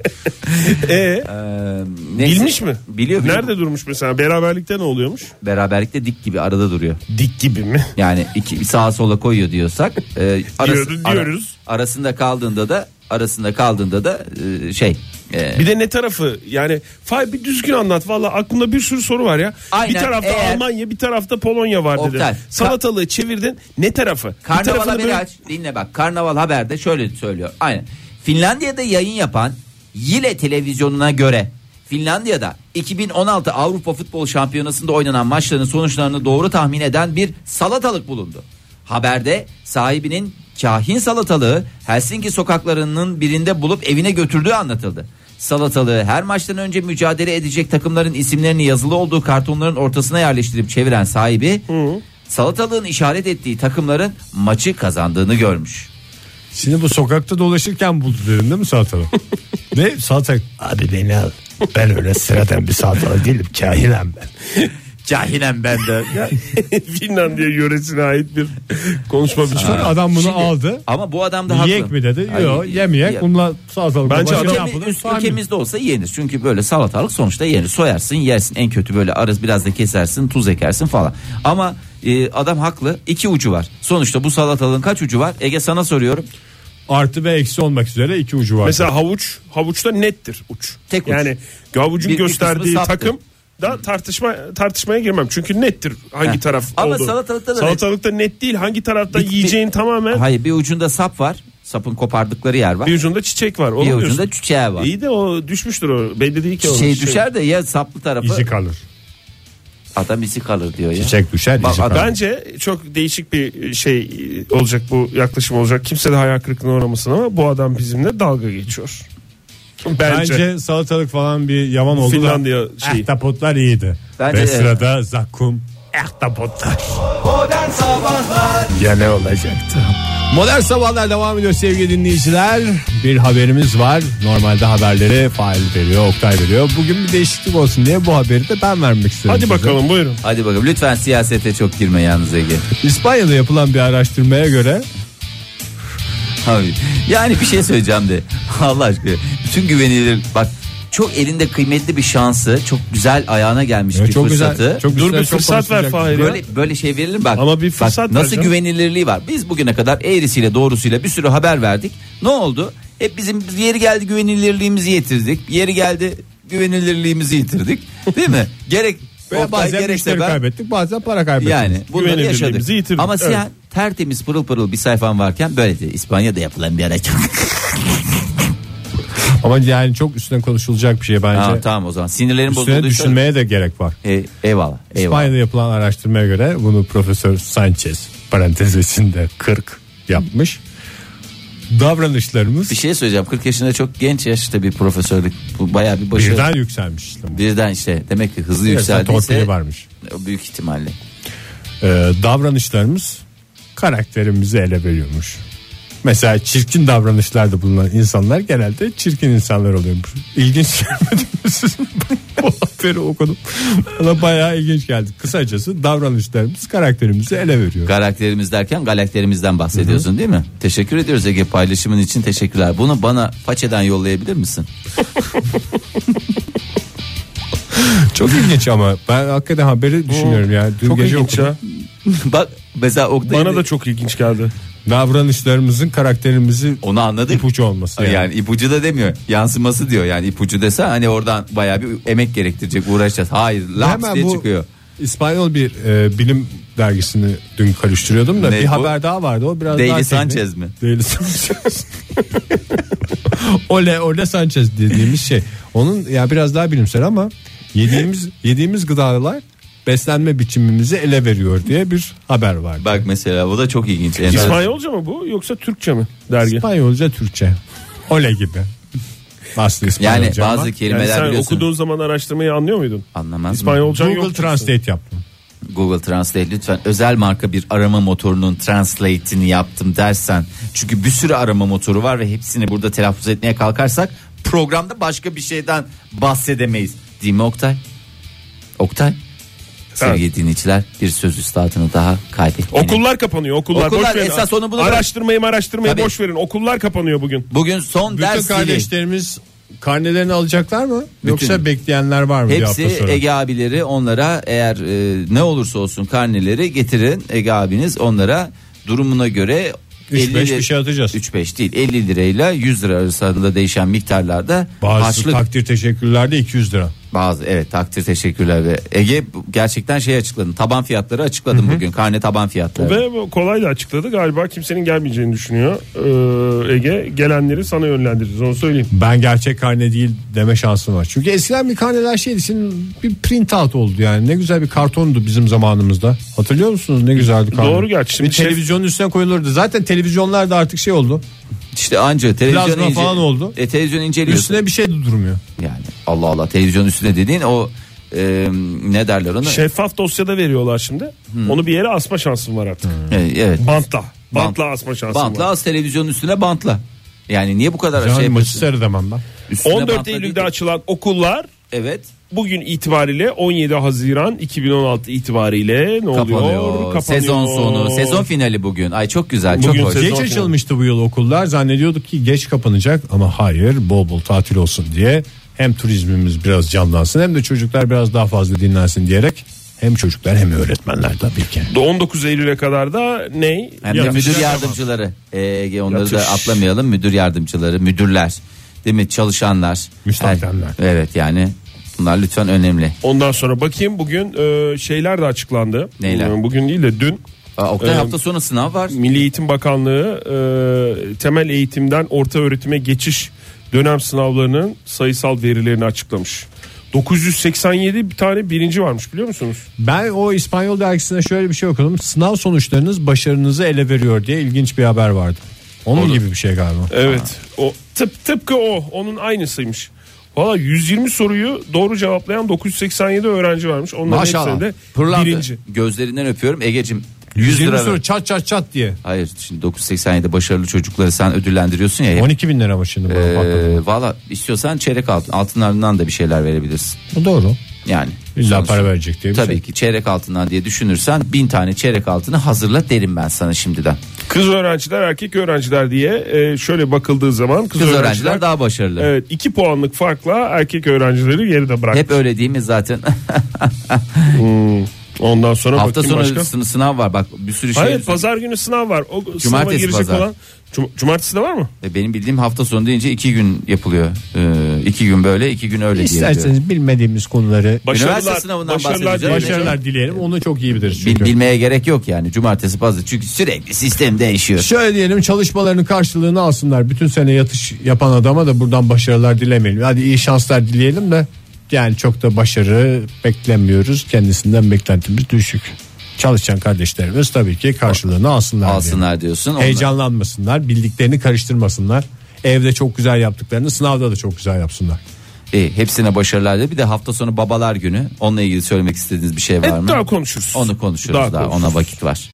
[SPEAKER 4] E
[SPEAKER 3] Ee, neyse.
[SPEAKER 4] bilmiş mi?
[SPEAKER 3] Biliyor. biliyor.
[SPEAKER 4] Nerede durmuş mesela beraberlikte ne oluyormuş?
[SPEAKER 3] Beraberlikte dik gibi arada duruyor.
[SPEAKER 4] Dik gibi mi?
[SPEAKER 3] Yani iki sağa sola koyuyor diyorsak e,
[SPEAKER 4] Diyoruz, diyoruz.
[SPEAKER 3] ara- arasında kaldığında da arasında kaldığında da e, şey e,
[SPEAKER 4] Bir de ne tarafı yani Fay bir düzgün anlat valla aklımda bir sürü soru var ya.
[SPEAKER 3] Aynen,
[SPEAKER 4] bir tarafta
[SPEAKER 3] eğer-
[SPEAKER 4] Almanya bir tarafta Polonya var dedi.
[SPEAKER 3] Oktay,
[SPEAKER 4] Salatalığı çevirdin ne tarafı? bir
[SPEAKER 3] Karnavala
[SPEAKER 4] tarafını
[SPEAKER 3] bir
[SPEAKER 4] böyle-
[SPEAKER 3] aç. Dinle bak. Karnaval haberde şöyle söylüyor. Aynen. Finlandiya'da yayın yapan Yile televizyonuna göre Finlandiya'da 2016 Avrupa Futbol Şampiyonası'nda oynanan maçların sonuçlarını doğru tahmin eden bir salatalık bulundu. Haberde sahibinin kahin salatalığı Helsinki sokaklarının birinde bulup evine götürdüğü anlatıldı. Salatalığı her maçtan önce mücadele edecek takımların isimlerini yazılı olduğu kartonların ortasına yerleştirip çeviren sahibi salatalığın işaret ettiği takımların maçı kazandığını görmüş.
[SPEAKER 2] Şimdi bu sokakta dolaşırken buldu dedin değil mi salatalık? ne salatalık? Abi beni al. Ben öyle sıradan bir salatalık değilim. Kahilen ben.
[SPEAKER 3] Cahilem ben de.
[SPEAKER 4] Finlandiya yöresine ait bir konuşma biçimi.
[SPEAKER 2] Sonra adam bunu
[SPEAKER 3] Şimdi-
[SPEAKER 2] aldı.
[SPEAKER 3] Ama bu adam da haklı.
[SPEAKER 2] Yiyek mi dedi?
[SPEAKER 3] Ay,
[SPEAKER 2] Yok
[SPEAKER 3] ye-
[SPEAKER 2] yemeyek.
[SPEAKER 3] ye-
[SPEAKER 2] Bununla salatalık.
[SPEAKER 4] Bence
[SPEAKER 2] başka
[SPEAKER 4] adam-
[SPEAKER 2] ne
[SPEAKER 3] Ülkemi-
[SPEAKER 2] yapılır?
[SPEAKER 3] üst-
[SPEAKER 2] Saymıyor.
[SPEAKER 3] ülkemizde olsa yenir. Çünkü böyle salatalık sonuçta yenir. Soyarsın yersin en kötü böyle arız biraz da kesersin tuz ekersin falan. Ama e, adam haklı iki ucu var. Sonuçta bu salatalığın kaç ucu var? Ege sana soruyorum.
[SPEAKER 2] Artı ve eksi olmak üzere iki ucu var.
[SPEAKER 4] Mesela havuç, havuçta nettir uç.
[SPEAKER 3] Tek uç.
[SPEAKER 4] Yani havucun
[SPEAKER 3] Bir- bir
[SPEAKER 4] gösterdiği
[SPEAKER 3] kısmı saptır.
[SPEAKER 4] takım da tartışma tartışmaya girmem. Çünkü nettir hangi
[SPEAKER 3] Heh.
[SPEAKER 4] taraf
[SPEAKER 3] Ama
[SPEAKER 4] olduğu.
[SPEAKER 3] salatalıkta da net.
[SPEAKER 4] Salatalıkta net. değil. Hangi tarafta
[SPEAKER 3] Bir- bir-
[SPEAKER 4] yiyeceğin tamamen
[SPEAKER 3] Hayır bir ucunda sap var. Sapın kopardıkları yer var.
[SPEAKER 4] bir
[SPEAKER 3] Bir,
[SPEAKER 4] ucunda çiçek var. Onu diyorsun.
[SPEAKER 3] ucunda çiçeği var.
[SPEAKER 4] İyi de o düşmüştür o. Belli değil ki o.
[SPEAKER 7] şey
[SPEAKER 4] şey.
[SPEAKER 3] Çiçeği düşer de ya saplı tarafı
[SPEAKER 2] İzi kalır.
[SPEAKER 3] adam izi kalır diyor ya.
[SPEAKER 2] Çiçek düşer,
[SPEAKER 3] Bak
[SPEAKER 2] izi
[SPEAKER 3] adam-
[SPEAKER 2] kalır.
[SPEAKER 4] Bence çok değişik bir şey olacak bu yaklaşım olacak. Kimse de hayal kırıklığına uğramasın ama bu adam bizimle dalga geçiyor. Bence.
[SPEAKER 2] Bence, salatalık falan bir yaman oldu
[SPEAKER 4] Finlandiya
[SPEAKER 2] da
[SPEAKER 4] şeyi.
[SPEAKER 2] ahtapotlar iyiydi.
[SPEAKER 3] şey- Bence
[SPEAKER 2] Ve
[SPEAKER 3] de.
[SPEAKER 2] sırada zakkum ahtapotlar. Ya ne olacaktı?
[SPEAKER 7] Modern Sabahlar devam ediyor sevgili dinleyiciler. Bir haberimiz var. Normalde haberleri fail veriyor, Oktay veriyor. Bugün bir değişiklik olsun diye bu haberi de ben vermek istedim.
[SPEAKER 4] Hadi
[SPEAKER 7] size.
[SPEAKER 4] bakalım buyurun.
[SPEAKER 3] Hadi bakalım lütfen siyasete çok girme yalnız Ege.
[SPEAKER 7] İspanya'da yapılan bir araştırmaya göre
[SPEAKER 3] Abi, yani bir şey söyleyeceğim de Allah aşkına bütün güvenilir bak çok elinde kıymetli bir şansı çok güzel ayağına gelmiş bir
[SPEAKER 7] çok güzel,
[SPEAKER 3] fırsatı.
[SPEAKER 7] çok
[SPEAKER 4] Dur
[SPEAKER 7] güzel,
[SPEAKER 4] bir
[SPEAKER 7] çok
[SPEAKER 4] fırsat
[SPEAKER 7] konuşulacak.
[SPEAKER 4] ver Fahir. ya.
[SPEAKER 3] Böyle böyle şey verilir mi? bak.
[SPEAKER 4] Ama bir fırsat
[SPEAKER 3] bak, nasıl
[SPEAKER 4] vereceğim.
[SPEAKER 3] güvenilirliği var. Biz bugüne kadar eğrisiyle doğrusuyla bir sürü haber verdik. Ne oldu? Hep bizim yeri geldi güvenilirliğimizi yitirdik. Yeri geldi güvenilirliğimizi yitirdik. Değil mi? Gerek
[SPEAKER 7] Ve
[SPEAKER 3] Oktay
[SPEAKER 7] bazen
[SPEAKER 3] gerekse
[SPEAKER 7] müşteri
[SPEAKER 3] ben
[SPEAKER 7] kaybettik bazen para kaybettik.
[SPEAKER 3] yani bunları
[SPEAKER 4] Güvenilirliğimizi
[SPEAKER 3] yaşadık.
[SPEAKER 4] yitirdik,
[SPEAKER 3] Ama
[SPEAKER 4] evet.
[SPEAKER 3] siyah tertemiz pırıl pırıl bir sayfan varken böyle de İspanya'da yapılan bir araştırma.
[SPEAKER 2] Ama yani çok üstüne konuşulacak bir şey bence.
[SPEAKER 3] Aa, tamam o zaman sinirlerim
[SPEAKER 2] üstüne
[SPEAKER 3] bozulduysa.
[SPEAKER 2] düşünmeye de gerek var.
[SPEAKER 3] E, eyvallah. eyvallah.
[SPEAKER 2] İspanya'da yapılan araştırmaya göre bunu Profesör Sanchez parantez içinde 40 yapmış. Davranışlarımız
[SPEAKER 3] Bir şey söyleyeceğim. 40 yaşında çok genç yaşta bir profesörlük. Bu bayağı bir başarı.
[SPEAKER 2] birden yükselmiş. işte.
[SPEAKER 3] Birden işte demek ki şey hızlı
[SPEAKER 2] Yarısı
[SPEAKER 3] yükseldiyse
[SPEAKER 2] torpili varmış.
[SPEAKER 3] büyük ihtimalle.
[SPEAKER 2] Ee, davranışlarımız karakterimizi ele veriyormuş. Mesela çirkin davranışlarda bulunan insanlar genelde çirkin insanlar oluyormuş. İlginç gelmedi mi sizin? Bu haberi okudum. Bana bayağı ilginç geldi. Kısacası davranışlarımız karakterimizi ele veriyor.
[SPEAKER 3] Karakterimiz derken galakterimizden bahsediyorsun değil mi? Teşekkür ediyoruz Ege paylaşımın için teşekkürler. Bunu bana façeden yollayabilir misin?
[SPEAKER 2] Çok ilginç ama ben hakikaten haberi düşünüyorum yani. Dün
[SPEAKER 4] Çok
[SPEAKER 2] gece
[SPEAKER 4] ilginç
[SPEAKER 2] okudum.
[SPEAKER 4] ya.
[SPEAKER 3] Bak mesela Oktay'ın
[SPEAKER 4] Bana da çok ilginç geldi.
[SPEAKER 2] Davranışlarımızın karakterimizi
[SPEAKER 3] onu anladık.
[SPEAKER 2] ipucu olması.
[SPEAKER 3] Yani.
[SPEAKER 2] Yani.
[SPEAKER 3] ipucu da demiyor. Yansıması diyor. Yani ipucu dese hani oradan bayağı bir emek gerektirecek uğraşacağız. Hayır laps
[SPEAKER 2] Hemen
[SPEAKER 3] diye
[SPEAKER 2] bu
[SPEAKER 3] çıkıyor.
[SPEAKER 2] İspanyol bir e, bilim dergisini dün karıştırıyordum da
[SPEAKER 3] Ne
[SPEAKER 2] bir
[SPEAKER 3] bu?
[SPEAKER 2] haber daha vardı o biraz
[SPEAKER 3] Daily
[SPEAKER 2] daha teknik.
[SPEAKER 3] Sanchez mi?
[SPEAKER 2] Daily Sanchez. ole ole Sanchez dediğimiz şey. Onun ya biraz daha bilimsel ama yediğimiz yediğimiz gıdalar beslenme biçimimizi ele veriyor diye bir haber vardı.
[SPEAKER 3] Bak mesela bu da çok ilginç.
[SPEAKER 4] İspanyolca mı bu yoksa Türkçe mi dergi?
[SPEAKER 2] İspanyolca Türkçe. Ole gibi. Aslında İspanyolca
[SPEAKER 3] Yani bazı
[SPEAKER 2] ama
[SPEAKER 4] Yani
[SPEAKER 3] kelimeler
[SPEAKER 4] sen
[SPEAKER 3] biliyorsun.
[SPEAKER 4] okuduğun zaman araştırmayı anlıyor muydun?
[SPEAKER 3] Anlamaz mı?
[SPEAKER 4] İspanyolca yok.
[SPEAKER 2] Google Translate yaptım.
[SPEAKER 3] Google Translate lütfen özel marka bir arama motorunun translate'ini yaptım dersen. Çünkü bir sürü arama motoru var ve hepsini burada telaffuz etmeye kalkarsak programda başka bir şeyden bahsedemeyiz. Değil mi Oktay? Oktay? Sevgili dinleyiciler bir söz üstadını daha kaybettik.
[SPEAKER 4] Okullar kapanıyor okullar.
[SPEAKER 3] Okullar,
[SPEAKER 4] boş verin.
[SPEAKER 3] esas onu bunu-
[SPEAKER 4] Araştırmayı araştırmayı
[SPEAKER 3] Tabii.
[SPEAKER 4] boş verin. Okullar kapanıyor bugün.
[SPEAKER 3] Bugün son
[SPEAKER 2] Bütün
[SPEAKER 3] ders zili.
[SPEAKER 2] kardeşlerimiz karnelerini alacaklar mı? Yoksa
[SPEAKER 3] Bütün.
[SPEAKER 2] bekleyenler var mı? bir
[SPEAKER 3] Hepsi
[SPEAKER 2] hafta sonra?
[SPEAKER 3] Ege abileri onlara eğer e, ne olursa olsun karneleri getirin Ege abiniz onlara durumuna göre
[SPEAKER 2] Üç
[SPEAKER 3] 50
[SPEAKER 2] beş
[SPEAKER 3] lira-
[SPEAKER 2] bir şey atacağız.
[SPEAKER 3] 3-5 değil 50 lirayla 100 lira arasında değişen miktarlarda
[SPEAKER 2] Bazı
[SPEAKER 3] harçlık
[SPEAKER 2] takdir teşekkürlerde 200 lira.
[SPEAKER 3] Bazı evet takdir teşekkürler ve Ege bu- gerçekten şey açıkladın. Taban fiyatları açıkladım bugün. Karne taban fiyatları.
[SPEAKER 4] Ve bu kolay da açıkladı galiba kimsenin gelmeyeceğini düşünüyor Ee, Ege. Gelenleri sana yönlendiririz onu söyleyeyim.
[SPEAKER 2] Ben gerçek karne değil deme şansım var. Çünkü eskiden bir karneler şeydi. Şimdi bir print out oldu yani. Ne güzel bir kartondu bizim zamanımızda. Hatırlıyor musunuz ne güzeldi karne?
[SPEAKER 4] Doğru gerçi. Şimdi
[SPEAKER 2] Bir televizyonun üstüne koyulurdu. Zaten televizyonlar da artık şey oldu.
[SPEAKER 3] İşte anca televizyon
[SPEAKER 2] Plazma
[SPEAKER 3] ince-
[SPEAKER 2] falan oldu.
[SPEAKER 3] E, televizyon inceliyorsun.
[SPEAKER 2] Üstüne bir şey de durmuyor.
[SPEAKER 3] Yani Allah Allah televizyon üstüne dediğin o e, ne derler ona?
[SPEAKER 2] Şey-
[SPEAKER 4] Şeffaf dosyada veriyorlar şimdi. Onu bir yere asma şansım var artık.
[SPEAKER 3] E, evet.
[SPEAKER 4] Bantla. Bantla
[SPEAKER 3] Bant-
[SPEAKER 4] asma şansım
[SPEAKER 3] Bantla
[SPEAKER 4] var.
[SPEAKER 3] az televizyonun üstüne bantla. Yani niye bu kadar
[SPEAKER 2] Yani
[SPEAKER 3] şey
[SPEAKER 2] maçı
[SPEAKER 3] yapıyorsun?
[SPEAKER 2] seyredemem ben.
[SPEAKER 3] Üstüne
[SPEAKER 4] 14
[SPEAKER 3] bantla
[SPEAKER 4] Eylül'de
[SPEAKER 3] değil.
[SPEAKER 4] açılan okullar
[SPEAKER 3] Evet.
[SPEAKER 4] bugün itibariyle 17 Haziran 2016 itibariyle ne
[SPEAKER 3] Kapanıyor.
[SPEAKER 4] oluyor? Kapanıyor.
[SPEAKER 3] Sezon sonu. Sezon finali bugün. Ay çok güzel.
[SPEAKER 4] Bugün
[SPEAKER 3] çok hoş.
[SPEAKER 4] sezon-
[SPEAKER 2] Geç
[SPEAKER 4] Zor
[SPEAKER 2] açılmıştı bu yıl okullar. Zannediyorduk ki geç kapanacak ama hayır bol bol tatil olsun diye hem turizmimiz biraz canlansın hem de çocuklar biraz daha fazla dinlensin diyerek hem çocuklar hem öğretmenler tabii ki.
[SPEAKER 4] 19 Eylül'e kadar da ne?
[SPEAKER 3] Hem de
[SPEAKER 4] Yatış.
[SPEAKER 3] müdür yardımcıları. E, Ege onları da
[SPEAKER 4] şey- Yatış.
[SPEAKER 3] atlamayalım. Müdür yardımcıları, müdürler. Değil mi? Çalışanlar.
[SPEAKER 2] Müstakbeller.
[SPEAKER 3] Her- Evet yani bunlar lütfen önemli.
[SPEAKER 4] Ondan sonra bakayım bugün e, şeyler de açıklandı.
[SPEAKER 3] Neyler?
[SPEAKER 4] E, Bugün değil de dün
[SPEAKER 3] Aa, Oktay
[SPEAKER 4] Ee,
[SPEAKER 3] hafta sonu sınav var.
[SPEAKER 4] Milli Eğitim Bakanlığı e, temel eğitimden orta öğretime geçiş dönem sınavlarının sayısal verilerini açıklamış. 987 bir tane birinci varmış biliyor musunuz?
[SPEAKER 2] Ben o İspanyol dergisinde şöyle bir şey okudum. Sınav sonuçlarınız başarınızı ele veriyor diye ilginç bir haber vardı. Onun gibi bir şey galiba.
[SPEAKER 4] Evet. O tıp tıpkı o onun aynısıymış. Valla 120 soruyu doğru cevaplayan 987 öğrenci varmış. Onların
[SPEAKER 3] Maşallah.
[SPEAKER 4] hepsinde de
[SPEAKER 3] Pırlanta.
[SPEAKER 4] birinci.
[SPEAKER 3] Gözlerinden öpüyorum Ege'cim. 100
[SPEAKER 2] 120
[SPEAKER 3] lira.
[SPEAKER 2] soru
[SPEAKER 3] ver.
[SPEAKER 2] çat çat çat diye.
[SPEAKER 3] Hayır şimdi 987 başarılı çocukları sen ödüllendiriyorsun ya. hep.
[SPEAKER 2] 12 bin lira mı şimdi? bana
[SPEAKER 3] Ee,
[SPEAKER 2] patladı?
[SPEAKER 3] Valla istiyorsan çeyrek altın altınlarından da bir şeyler verebilirsin.
[SPEAKER 2] Bu doğru.
[SPEAKER 3] Yani.
[SPEAKER 2] İlla
[SPEAKER 3] sonuçta.
[SPEAKER 2] para verecek diye bir
[SPEAKER 3] Tabii
[SPEAKER 2] şey.
[SPEAKER 3] ki çeyrek altından diye düşünürsen bin tane çeyrek altını hazırla derim ben sana şimdiden.
[SPEAKER 4] Kız öğrenciler erkek öğrenciler diye e, şöyle bakıldığı zaman kız,
[SPEAKER 3] Kız öğrenciler,
[SPEAKER 4] öğrenciler
[SPEAKER 3] daha başarılı.
[SPEAKER 4] Evet 2 puanlık farkla erkek öğrencileri geride bıraktı.
[SPEAKER 3] Hep öyle değil mi zaten?
[SPEAKER 4] Ondan sonra
[SPEAKER 3] Hafta
[SPEAKER 4] bakayım
[SPEAKER 3] sonu
[SPEAKER 4] başka.
[SPEAKER 3] sın- sınav var bak bir sürü şey.
[SPEAKER 4] Hayır pazar günü sınav var. O sınava
[SPEAKER 3] Cumartesi,
[SPEAKER 4] girecek
[SPEAKER 3] pazar.
[SPEAKER 4] olan Cum- cumartesi de var mı?
[SPEAKER 3] E, Benim bildiğim hafta sonu deyince iki gün yapılıyor. Ee, iki gün böyle iki gün öyle diye.
[SPEAKER 2] İsterseniz bilmediğimiz konuları
[SPEAKER 3] Üniversite sınavından
[SPEAKER 4] başarılar
[SPEAKER 3] bahsedeceğiz.
[SPEAKER 4] dileyeceğim.
[SPEAKER 2] başarılar dileyelim. Onu çok iyi biliriz
[SPEAKER 3] Bil-
[SPEAKER 2] çünkü.
[SPEAKER 3] bilmeye gerek yok yani cumartesi pazar çünkü sürekli sistem değişiyor.
[SPEAKER 2] Şöyle diyelim çalışmalarının karşılığını alsınlar. Bütün sene yatış yapan adama da buradan başarılar dilemeyelim. Hadi iyi şanslar dileyelim de yani çok da başarı beklemiyoruz. Kendisinden beklentimiz düşük. Çalışan kardeşlerimiz tabii ki karşılığını alsınlar. diyelim.
[SPEAKER 3] Alsınlar diyorsun. Onlar-
[SPEAKER 2] Heyecanlanmasınlar, bildiklerini karıştırmasınlar. Evde çok güzel yaptıklarını sınavda da çok güzel yapsınlar.
[SPEAKER 3] İyi, E, hepsine başarılar dilerim. Bir de hafta sonu babalar günü. Onunla ilgili söylemek istediğiniz bir şey var
[SPEAKER 4] Evet,
[SPEAKER 3] mı?
[SPEAKER 4] daha konuşuruz.
[SPEAKER 3] Onu konuşuruz daha,
[SPEAKER 4] Daha konuşuruz.
[SPEAKER 3] ona vakit var.